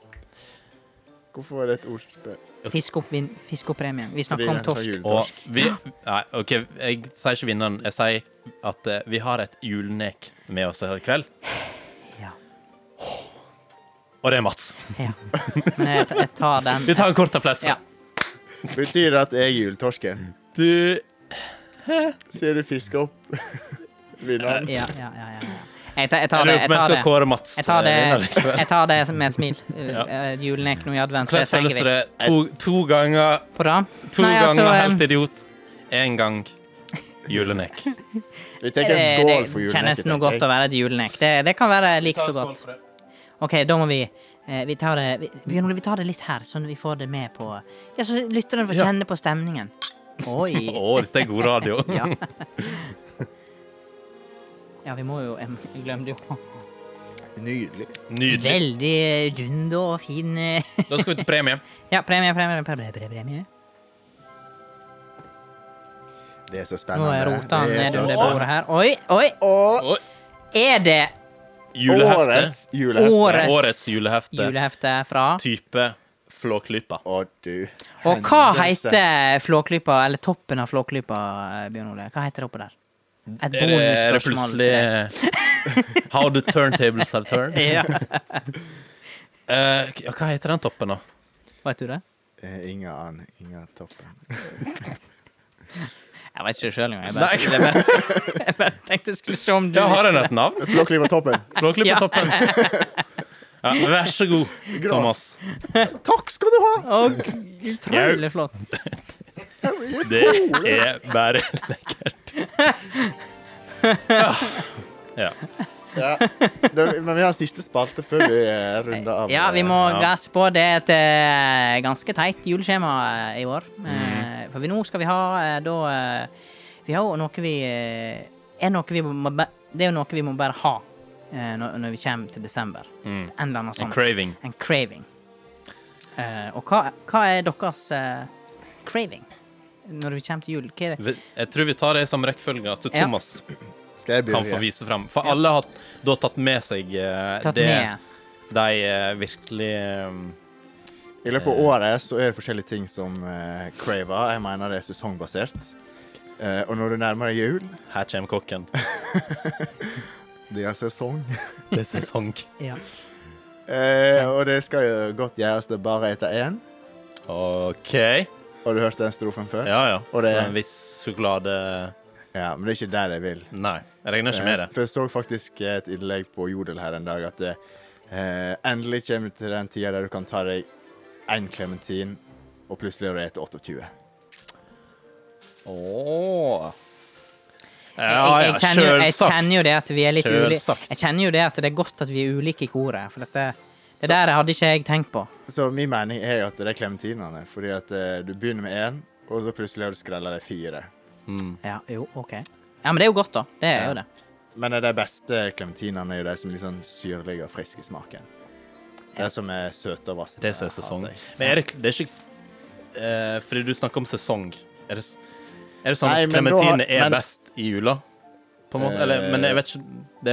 [SPEAKER 4] Hvorfor er det et ordspill?
[SPEAKER 1] Fisk opp, vin, fisk opp premien. Vi
[SPEAKER 4] Fordi
[SPEAKER 1] snakker om
[SPEAKER 4] den tar
[SPEAKER 1] torsk.
[SPEAKER 2] Og
[SPEAKER 4] juletorsk.
[SPEAKER 2] vi Nei, OK, jeg sier ikke vinneren. Jeg sier at eh, vi har et julenek med oss her i kveld,
[SPEAKER 1] Ja.
[SPEAKER 2] og det er Mats.
[SPEAKER 1] ja. Men jeg, jeg tar den.
[SPEAKER 2] Vi tar en kort applaus. for-
[SPEAKER 1] Ja.
[SPEAKER 4] Betyr det at jeg er juletorsken?
[SPEAKER 2] Du
[SPEAKER 4] Sier du fisker opp vinneren?
[SPEAKER 1] Ja, ja, ja, ja, ja. Jeg tar, jeg
[SPEAKER 2] Jeg
[SPEAKER 1] tar det.
[SPEAKER 2] lurer på
[SPEAKER 1] Jeg
[SPEAKER 2] om jeg
[SPEAKER 1] tar
[SPEAKER 2] skal
[SPEAKER 1] det.
[SPEAKER 2] kåre Mats eh,
[SPEAKER 1] Jeg tar
[SPEAKER 2] til vinner
[SPEAKER 1] det,
[SPEAKER 2] likevel.
[SPEAKER 1] jeg tar det med et smil.
[SPEAKER 2] Ja.
[SPEAKER 1] Eh, Julen er ikke noe i advent.
[SPEAKER 2] Hvordan
[SPEAKER 1] Det
[SPEAKER 2] føles
[SPEAKER 1] trenger vi.
[SPEAKER 2] det to, to ganger
[SPEAKER 1] På det?
[SPEAKER 2] To
[SPEAKER 1] Nei, altså,
[SPEAKER 2] ganger
[SPEAKER 1] em,
[SPEAKER 2] helt idiot, én gang julenek.
[SPEAKER 4] Vi tar
[SPEAKER 1] Eh,
[SPEAKER 4] en
[SPEAKER 1] det-
[SPEAKER 4] skål for
[SPEAKER 1] Det
[SPEAKER 4] julenek.
[SPEAKER 1] kjennes noe godt å være et julenek. Det, det kan være like så godt. OK, da må vi eh, vi tar, det, vi, Bjørn Ole, vi tar det litt her, sånn vi får det med på Ja, så lytterne får
[SPEAKER 2] Ja.
[SPEAKER 1] kjenne på stemningen.
[SPEAKER 2] Å,
[SPEAKER 1] Oi.
[SPEAKER 2] dette er god radio.
[SPEAKER 1] Ja. Ja, vi må jo em, Jeg glemte jo
[SPEAKER 4] Nydelig.
[SPEAKER 6] Nydelig.
[SPEAKER 1] Veldig rund og fin eh,
[SPEAKER 2] Da skal vi til premie.
[SPEAKER 1] Ja, premie, premie, premie. premie, premie.
[SPEAKER 4] Det er så
[SPEAKER 1] Nå
[SPEAKER 4] spennende.
[SPEAKER 1] roter han
[SPEAKER 4] Det er
[SPEAKER 1] ned
[SPEAKER 4] så
[SPEAKER 1] under
[SPEAKER 4] spennende.
[SPEAKER 1] bordet her. Oi, oi!
[SPEAKER 4] Og
[SPEAKER 2] Oi,
[SPEAKER 1] Er det
[SPEAKER 2] julehefte.
[SPEAKER 4] årets julehefte.
[SPEAKER 1] Årets.
[SPEAKER 2] Årets julehefte.
[SPEAKER 1] julehefte fra
[SPEAKER 2] Type Flåklypa.
[SPEAKER 4] Og du
[SPEAKER 1] Og hva
[SPEAKER 4] hendelse.
[SPEAKER 1] heter flåklypa, eller toppen av flåklypa, eh, Bjørn Ole? Hva heter det oppe der? Et
[SPEAKER 2] Er det, er det
[SPEAKER 1] bonusspørsmål.
[SPEAKER 2] plutselig How the turntables have turned?
[SPEAKER 1] til- Ja.
[SPEAKER 2] Eh, k- hva heter den toppen, da?
[SPEAKER 1] Vet du det?
[SPEAKER 4] Eh, Inga Arne. Inga Toppen.
[SPEAKER 1] Jeg vet ikke det sjøl engang. Jeg bare, jeg bare, jeg bare tenkte jeg skulle se om du
[SPEAKER 2] Ja, har den et navn?
[SPEAKER 4] Flåklypa Toppen.
[SPEAKER 2] Flåklypa toppen. Ja, vær så god,
[SPEAKER 4] Gras.
[SPEAKER 2] Thomas.
[SPEAKER 4] Takk skal du ha!
[SPEAKER 1] Og utrolig flott.
[SPEAKER 2] Det er bare lekkert. Ah, Ja.
[SPEAKER 4] Ja. Det, men vi har siste spalte før vi eh, runder av.
[SPEAKER 1] Ja, vi må
[SPEAKER 2] Ja.
[SPEAKER 1] gasse på. Det er et eh, ganske teit juleskjema eh, i år.
[SPEAKER 2] Mm.
[SPEAKER 1] Eh, for vi, nå skal vi ha eh, da eh, Vi har jo noe vi eh, er noe vi må, bæ- Det er jo noe vi må bare ha eh, når, når vi kommer til desember.
[SPEAKER 2] Mm.
[SPEAKER 1] En eller annen
[SPEAKER 2] En
[SPEAKER 1] sånn.
[SPEAKER 2] craving.
[SPEAKER 1] en craving. Eh, og hva, hva er deres eh, craving når vi kommer til jul? Hva er det?
[SPEAKER 2] Vi- Jeg tror vi tar det som rekkefølge at
[SPEAKER 1] Ja.
[SPEAKER 2] Thomas
[SPEAKER 4] Skal jeg
[SPEAKER 2] kan få
[SPEAKER 4] begynne?
[SPEAKER 2] vise frem. For alle har da tatt med seg eh,
[SPEAKER 1] Tatt
[SPEAKER 2] det
[SPEAKER 1] med
[SPEAKER 2] de eh, virkelig um,
[SPEAKER 4] I løpet av året så er det forskjellige ting som eh, craver. Jeg mener det er sesongbasert. Eh, og når du nærmer deg jul
[SPEAKER 2] Her kommer kokken.
[SPEAKER 4] Det er sesong.
[SPEAKER 2] Det er sesong.
[SPEAKER 1] ja.
[SPEAKER 4] Eh, og det skal jo godt gjøres det bare etter én.
[SPEAKER 2] OK.
[SPEAKER 4] Har du hørt den strofen før?
[SPEAKER 2] Ja, ja.
[SPEAKER 4] Og det-
[SPEAKER 2] Fra En viss sjokolade
[SPEAKER 4] Ja, Men det er ikke der jeg vil.
[SPEAKER 2] Nei, jeg regner ikke med
[SPEAKER 4] Eh,
[SPEAKER 2] det.
[SPEAKER 4] For jeg så faktisk et innlegg på Jodel her en dag at eh, endelig kommer du til den tida der du kan ta deg én klementin, og plutselig er du spist 28.
[SPEAKER 2] Åh. Ja,
[SPEAKER 1] Jeg, jeg, jeg, kjenner jo, jeg
[SPEAKER 2] selvsagt.
[SPEAKER 1] kjenner jo det at vi er litt ulike.
[SPEAKER 2] Selvsagt.
[SPEAKER 1] Jeg kjenner jo det at det er godt at vi er ulike i koret. For dette, det der hadde ikke jeg tenkt på.
[SPEAKER 4] Så min mening er jo at det er klementinene. Fordi at eh, du begynner med én, og så plutselig har du skrella de fire.
[SPEAKER 2] Mm.
[SPEAKER 1] Ja, jo, ok. Ja, men det er jo godt, da. Det er jo det.
[SPEAKER 4] Men eh, de beste klementinene er jo de som er litt sånn syrlige og friske i smaken. De som er søte og vasse.
[SPEAKER 2] Det som er sesong. Men er det, det er ikke eh, Fordi du snakker om sesong. Er det, s- er det sånn
[SPEAKER 4] Nei,
[SPEAKER 2] at
[SPEAKER 4] men da har-
[SPEAKER 2] klementine er
[SPEAKER 4] men-
[SPEAKER 2] best i jula? På en måte? Eller, men jeg vet ikke Det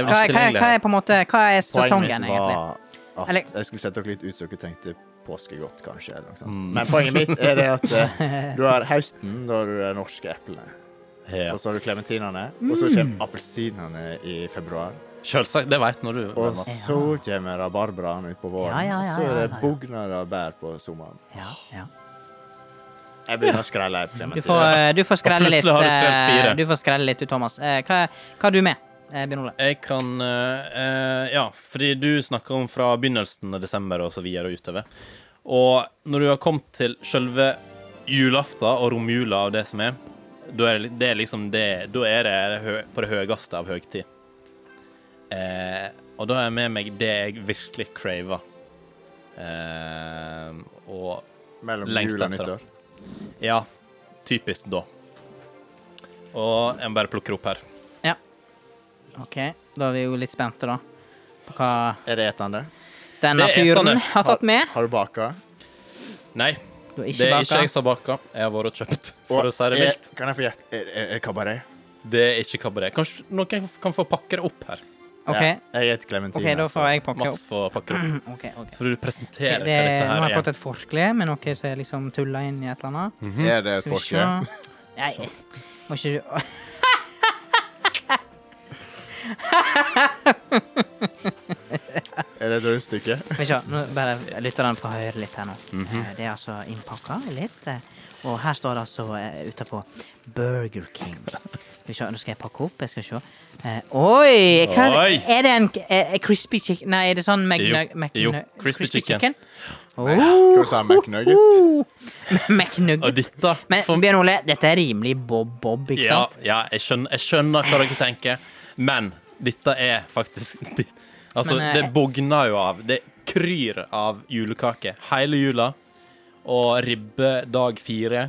[SPEAKER 1] Hva,
[SPEAKER 2] er vel
[SPEAKER 1] er-
[SPEAKER 2] ikke
[SPEAKER 1] hva, er-
[SPEAKER 2] tilgjengelig.
[SPEAKER 1] hva er på en måte Hva er
[SPEAKER 4] Poenget
[SPEAKER 1] sesongen,
[SPEAKER 4] mitt
[SPEAKER 1] egentlig?
[SPEAKER 4] var at
[SPEAKER 1] Eller-
[SPEAKER 4] jeg skulle sette dere litt ut så dere tenkte påskegodt, kanskje. Eller noe sånt.
[SPEAKER 2] Mm.
[SPEAKER 4] Men poenget mitt er det at eh, du har høsten, da har du de norske eplene.
[SPEAKER 2] Ja.
[SPEAKER 4] Og så har du klementinene. Og
[SPEAKER 1] Mm.
[SPEAKER 4] så kommer appelsinene i februar.
[SPEAKER 2] Selvsagt. Det vet når du
[SPEAKER 4] Og
[SPEAKER 2] Mats.
[SPEAKER 4] så kommer rabarbraen utpå våren.
[SPEAKER 1] Ja, ja, ja,
[SPEAKER 4] og så er
[SPEAKER 1] ja,
[SPEAKER 4] det
[SPEAKER 1] ja, ja.
[SPEAKER 4] bugner og bær på sommeren.
[SPEAKER 1] Ja, ja.
[SPEAKER 4] Jeg begynner å skrelle.
[SPEAKER 1] Du får, eh, du får skrelle
[SPEAKER 2] plutselig
[SPEAKER 1] litt.
[SPEAKER 2] har du skrevet
[SPEAKER 1] eh,
[SPEAKER 2] fire.
[SPEAKER 1] Du får skrelle litt, du, Thomas. Eh, Hva, hva har du med, eh, Bjørn Ole?
[SPEAKER 2] Jeg kan eh, eh, Ja, fordi du snakker om fra begynnelsen av desember og så videre og utover. Og når du har kommet til selve julaften og romjula og det som er, da er det- det er liksom det Da er det hø- på det høyeste av høytid. Eh, og da har jeg med meg det jeg virkelig craver. Eh, og
[SPEAKER 4] Mellom
[SPEAKER 2] Lengt
[SPEAKER 4] jul og
[SPEAKER 2] etter, da.
[SPEAKER 4] nyttår.
[SPEAKER 2] ja, typisk da. Og jeg må bare plukker opp her.
[SPEAKER 1] Ja. OK, da er vi jo litt spente, da. På hva
[SPEAKER 4] Er det etende?
[SPEAKER 1] denne
[SPEAKER 2] Det er etende.
[SPEAKER 1] fyren har tatt med.
[SPEAKER 4] Har du baka?
[SPEAKER 2] Nei,
[SPEAKER 1] Du har
[SPEAKER 2] det
[SPEAKER 1] ikke
[SPEAKER 2] er ikke
[SPEAKER 1] baka.
[SPEAKER 2] jeg som har baka. Jeg har vært og kjøpt, for
[SPEAKER 4] Og
[SPEAKER 2] å si det
[SPEAKER 4] er-
[SPEAKER 2] mildt.
[SPEAKER 4] Kan jeg få gjette? Er- Er er kabaret?
[SPEAKER 2] Det er ikke kabaret. Kanskje noen kan få pakke det opp her?
[SPEAKER 1] OK,
[SPEAKER 4] Ja, jeg altså. heter Clementine.
[SPEAKER 1] ok, da får jeg pakke
[SPEAKER 2] Mats
[SPEAKER 1] opp.
[SPEAKER 2] får pakke det opp.
[SPEAKER 1] Ok, ok.
[SPEAKER 2] Så får du
[SPEAKER 1] Ok,
[SPEAKER 2] presentere
[SPEAKER 1] det,
[SPEAKER 2] hva dette
[SPEAKER 1] nå har
[SPEAKER 2] her
[SPEAKER 1] jeg
[SPEAKER 2] er.
[SPEAKER 1] fått et forkle med noe som er liksom tulla inn i et eller annet.
[SPEAKER 2] Mhm.
[SPEAKER 4] Er det et
[SPEAKER 1] Skal vi se.
[SPEAKER 4] forkle?
[SPEAKER 1] Nei, må ikke du
[SPEAKER 4] Er det et rundstykke?
[SPEAKER 1] Skal vi se, nå bare lytter den på høyre litt her nå.
[SPEAKER 2] Mhm.
[SPEAKER 1] Eh, Det er altså innpakka litt. eh, Og her står det altså eh, utapå Burger King. Skal vi se, nå skal jeg pakke opp. Jeg skal se. Eh, oi! Hva,
[SPEAKER 2] Oi!
[SPEAKER 1] Er det en eh, crispy chicken Nei, er det sånn McNug...
[SPEAKER 2] Jo, jo, crispy chicken.
[SPEAKER 4] Hva sa McNugget?
[SPEAKER 2] Og
[SPEAKER 1] McNugget.
[SPEAKER 2] dette
[SPEAKER 1] Men
[SPEAKER 2] for-
[SPEAKER 1] Bjørn Ole, dette er rimelig bob-bob, ikke
[SPEAKER 2] ja,
[SPEAKER 1] sant?
[SPEAKER 2] ja, jeg skjønner, jeg skjønner hva dere tenker, men dette er faktisk Altså,
[SPEAKER 1] Men, eh,
[SPEAKER 2] det bogner jo av. Det kryr av julekaker hele jula. Og ribbe dag fire.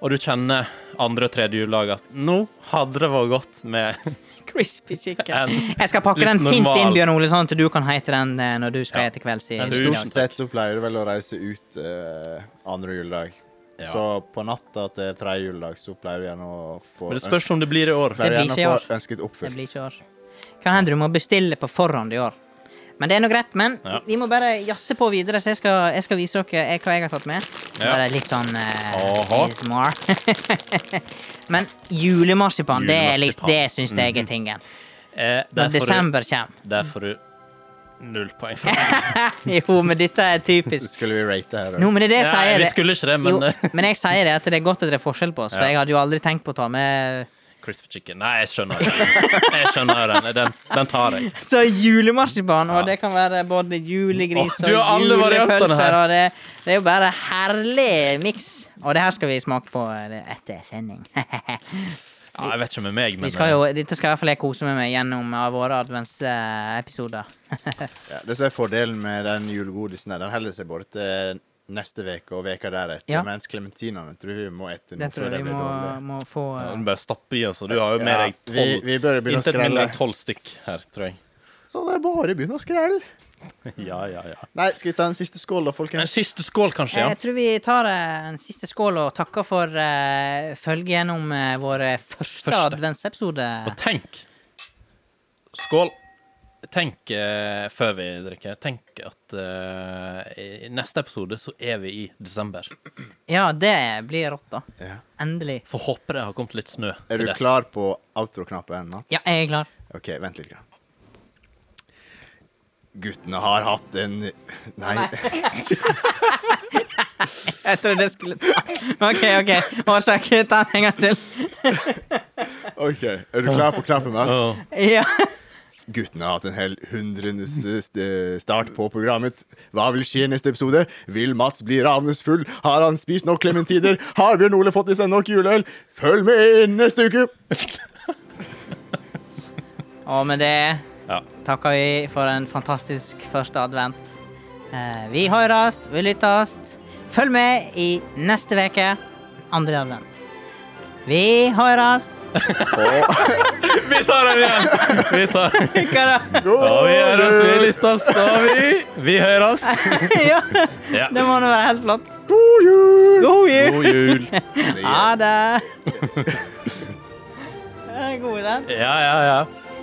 [SPEAKER 2] Og du kjenner andre og tredje juledag at nå hadde det vært godt med
[SPEAKER 1] Crispy chicken.
[SPEAKER 2] en
[SPEAKER 1] Jeg skal pakke
[SPEAKER 2] Litt
[SPEAKER 1] den fint
[SPEAKER 2] normal.
[SPEAKER 1] inn, Bjørn Ole, sånn at du kan hete den eh, når du skal
[SPEAKER 2] Ja.
[SPEAKER 1] hete kvelds i
[SPEAKER 4] Men
[SPEAKER 1] i dag.
[SPEAKER 4] Stort sett så pleier du vel å reise ut eh, andre juledag.
[SPEAKER 2] Ja.
[SPEAKER 4] Så på natta til tredje juledag så pleier du gjerne å få
[SPEAKER 2] Men det spørs om det blir i år.
[SPEAKER 4] pleier du
[SPEAKER 1] Det blir
[SPEAKER 4] gjerne
[SPEAKER 1] ikke i
[SPEAKER 4] å
[SPEAKER 1] år.
[SPEAKER 4] få ønsket
[SPEAKER 1] Det
[SPEAKER 4] oppfylt.
[SPEAKER 1] blir ikke i år. Kan hende du må bestille på forhånd i år. Men det er nå greit. Men
[SPEAKER 2] Ja.
[SPEAKER 1] vi må bare jazze på videre, så jeg skal, jeg skal vise dere eh, hva jeg har tatt med.
[SPEAKER 2] Ja.
[SPEAKER 1] Bare litt sånn eh,
[SPEAKER 2] Aha.
[SPEAKER 1] ASMR. Men julemarsipan, det, er litt- det syns jeg
[SPEAKER 2] Mhm.
[SPEAKER 1] er tingen.
[SPEAKER 2] Eh,
[SPEAKER 1] Når
[SPEAKER 2] der får du-
[SPEAKER 1] desember kommer.
[SPEAKER 2] der får du null poeng for meg.
[SPEAKER 1] Jo, men dette er typisk.
[SPEAKER 4] Skulle vi rate her?
[SPEAKER 1] Jo, men det er det jeg
[SPEAKER 2] Nei,
[SPEAKER 1] sier.
[SPEAKER 2] vi
[SPEAKER 1] det-
[SPEAKER 2] skulle ikke det,
[SPEAKER 1] Jo,
[SPEAKER 2] men eh,
[SPEAKER 1] men jeg sier det at det er godt at det er forskjell på oss, for
[SPEAKER 2] Ja.
[SPEAKER 1] jeg hadde jo aldri tenkt på å ta med
[SPEAKER 2] Crispy chicken. Nei, jeg skjønner den. Jeg skjønner den. Den, den tar jeg.
[SPEAKER 1] Så julemarsipan, og
[SPEAKER 2] Ja.
[SPEAKER 1] det kan være både julegris
[SPEAKER 2] Åh,
[SPEAKER 1] og
[SPEAKER 2] du har alle variantene
[SPEAKER 1] julepølser.
[SPEAKER 2] her.
[SPEAKER 1] Og det, det er jo bare herlig miks. Og det her skal vi smake på eh, etter sending.
[SPEAKER 2] Ja, jeg vet ikke med meg, men eh,
[SPEAKER 1] vi skal jo, dette skal i hvert fall jeg kose meg med gjennom av våre adventsepisoder.
[SPEAKER 4] Ja, det som er fordelen med den julegodisen, er den holder seg borte neste uke og veka deretter.
[SPEAKER 1] Ja.
[SPEAKER 4] Mens klementinene tror vi må ete nå
[SPEAKER 1] Det
[SPEAKER 4] før
[SPEAKER 1] tror
[SPEAKER 4] de
[SPEAKER 1] jeg vi
[SPEAKER 4] blir
[SPEAKER 1] må,
[SPEAKER 4] dårlige.
[SPEAKER 1] må få
[SPEAKER 2] eh,
[SPEAKER 1] eh,
[SPEAKER 2] du bare stapper i oss, og du har jo med
[SPEAKER 4] Ja,
[SPEAKER 2] deg
[SPEAKER 4] vi,
[SPEAKER 2] tolv
[SPEAKER 4] vi bør begynne å
[SPEAKER 2] Intet mindre
[SPEAKER 4] skrelle.
[SPEAKER 2] enn tolv stykk her, tror jeg.
[SPEAKER 4] Så det er bare å begynne å skrelle.
[SPEAKER 2] Ja, ja, ja.
[SPEAKER 4] Nei, skal vi ta en siste skål, da,
[SPEAKER 2] En
[SPEAKER 4] folkens?
[SPEAKER 2] siste skål, kanskje? ja?
[SPEAKER 1] Jeg tror vi tar eh, en siste skål og takker for uh, følget gjennom eh, vår første,
[SPEAKER 2] Første.
[SPEAKER 1] adventsepisode.
[SPEAKER 2] Og tenk Skål. Tenk eh, før vi drikker. Tenk at eh, i neste episode så er vi i desember.
[SPEAKER 1] Ja, det blir rått, da.
[SPEAKER 4] Ja.
[SPEAKER 1] Endelig.
[SPEAKER 2] Får håpe det har kommet litt snø
[SPEAKER 4] Er
[SPEAKER 2] til
[SPEAKER 4] du
[SPEAKER 2] dess.
[SPEAKER 4] klar på outro-knappen, Mats?
[SPEAKER 1] Ja, jeg er klar.
[SPEAKER 4] OK, vent litt. Grann. Guttene har hatt en Nei.
[SPEAKER 1] Jeg trodde jeg skulle ta OK, OK. Årsak. Ta den en gang til.
[SPEAKER 4] OK, er du klar på knappen, Mats?
[SPEAKER 2] Åh.
[SPEAKER 1] Ja.
[SPEAKER 4] Guttene har hatt en hel hundrenes st- start på programmet. Hva vil skje i neste episode? Vil Mats bli ravnesfull? Har han spist nok clementider? Har Bjørn Ole fått i seg nok juleøl? Følg med neste uke!
[SPEAKER 1] Og med det
[SPEAKER 2] Ja.
[SPEAKER 1] takker vi for en fantastisk første advent. Eh, Vi høres, vi lyttes. Følg med i neste uke, andre advent. Vi høres.
[SPEAKER 2] Vi tar den igjen! Vi tar den.
[SPEAKER 1] Hva da?
[SPEAKER 2] Og vi høres, vi lyttes, og vi Vi høres.
[SPEAKER 1] Ja,
[SPEAKER 2] Ja.
[SPEAKER 1] det må nå være helt flott.
[SPEAKER 4] God jul!
[SPEAKER 1] God jul!
[SPEAKER 2] God jul.
[SPEAKER 1] Ha det. Det er en god idé.
[SPEAKER 2] Ja, ja, ja.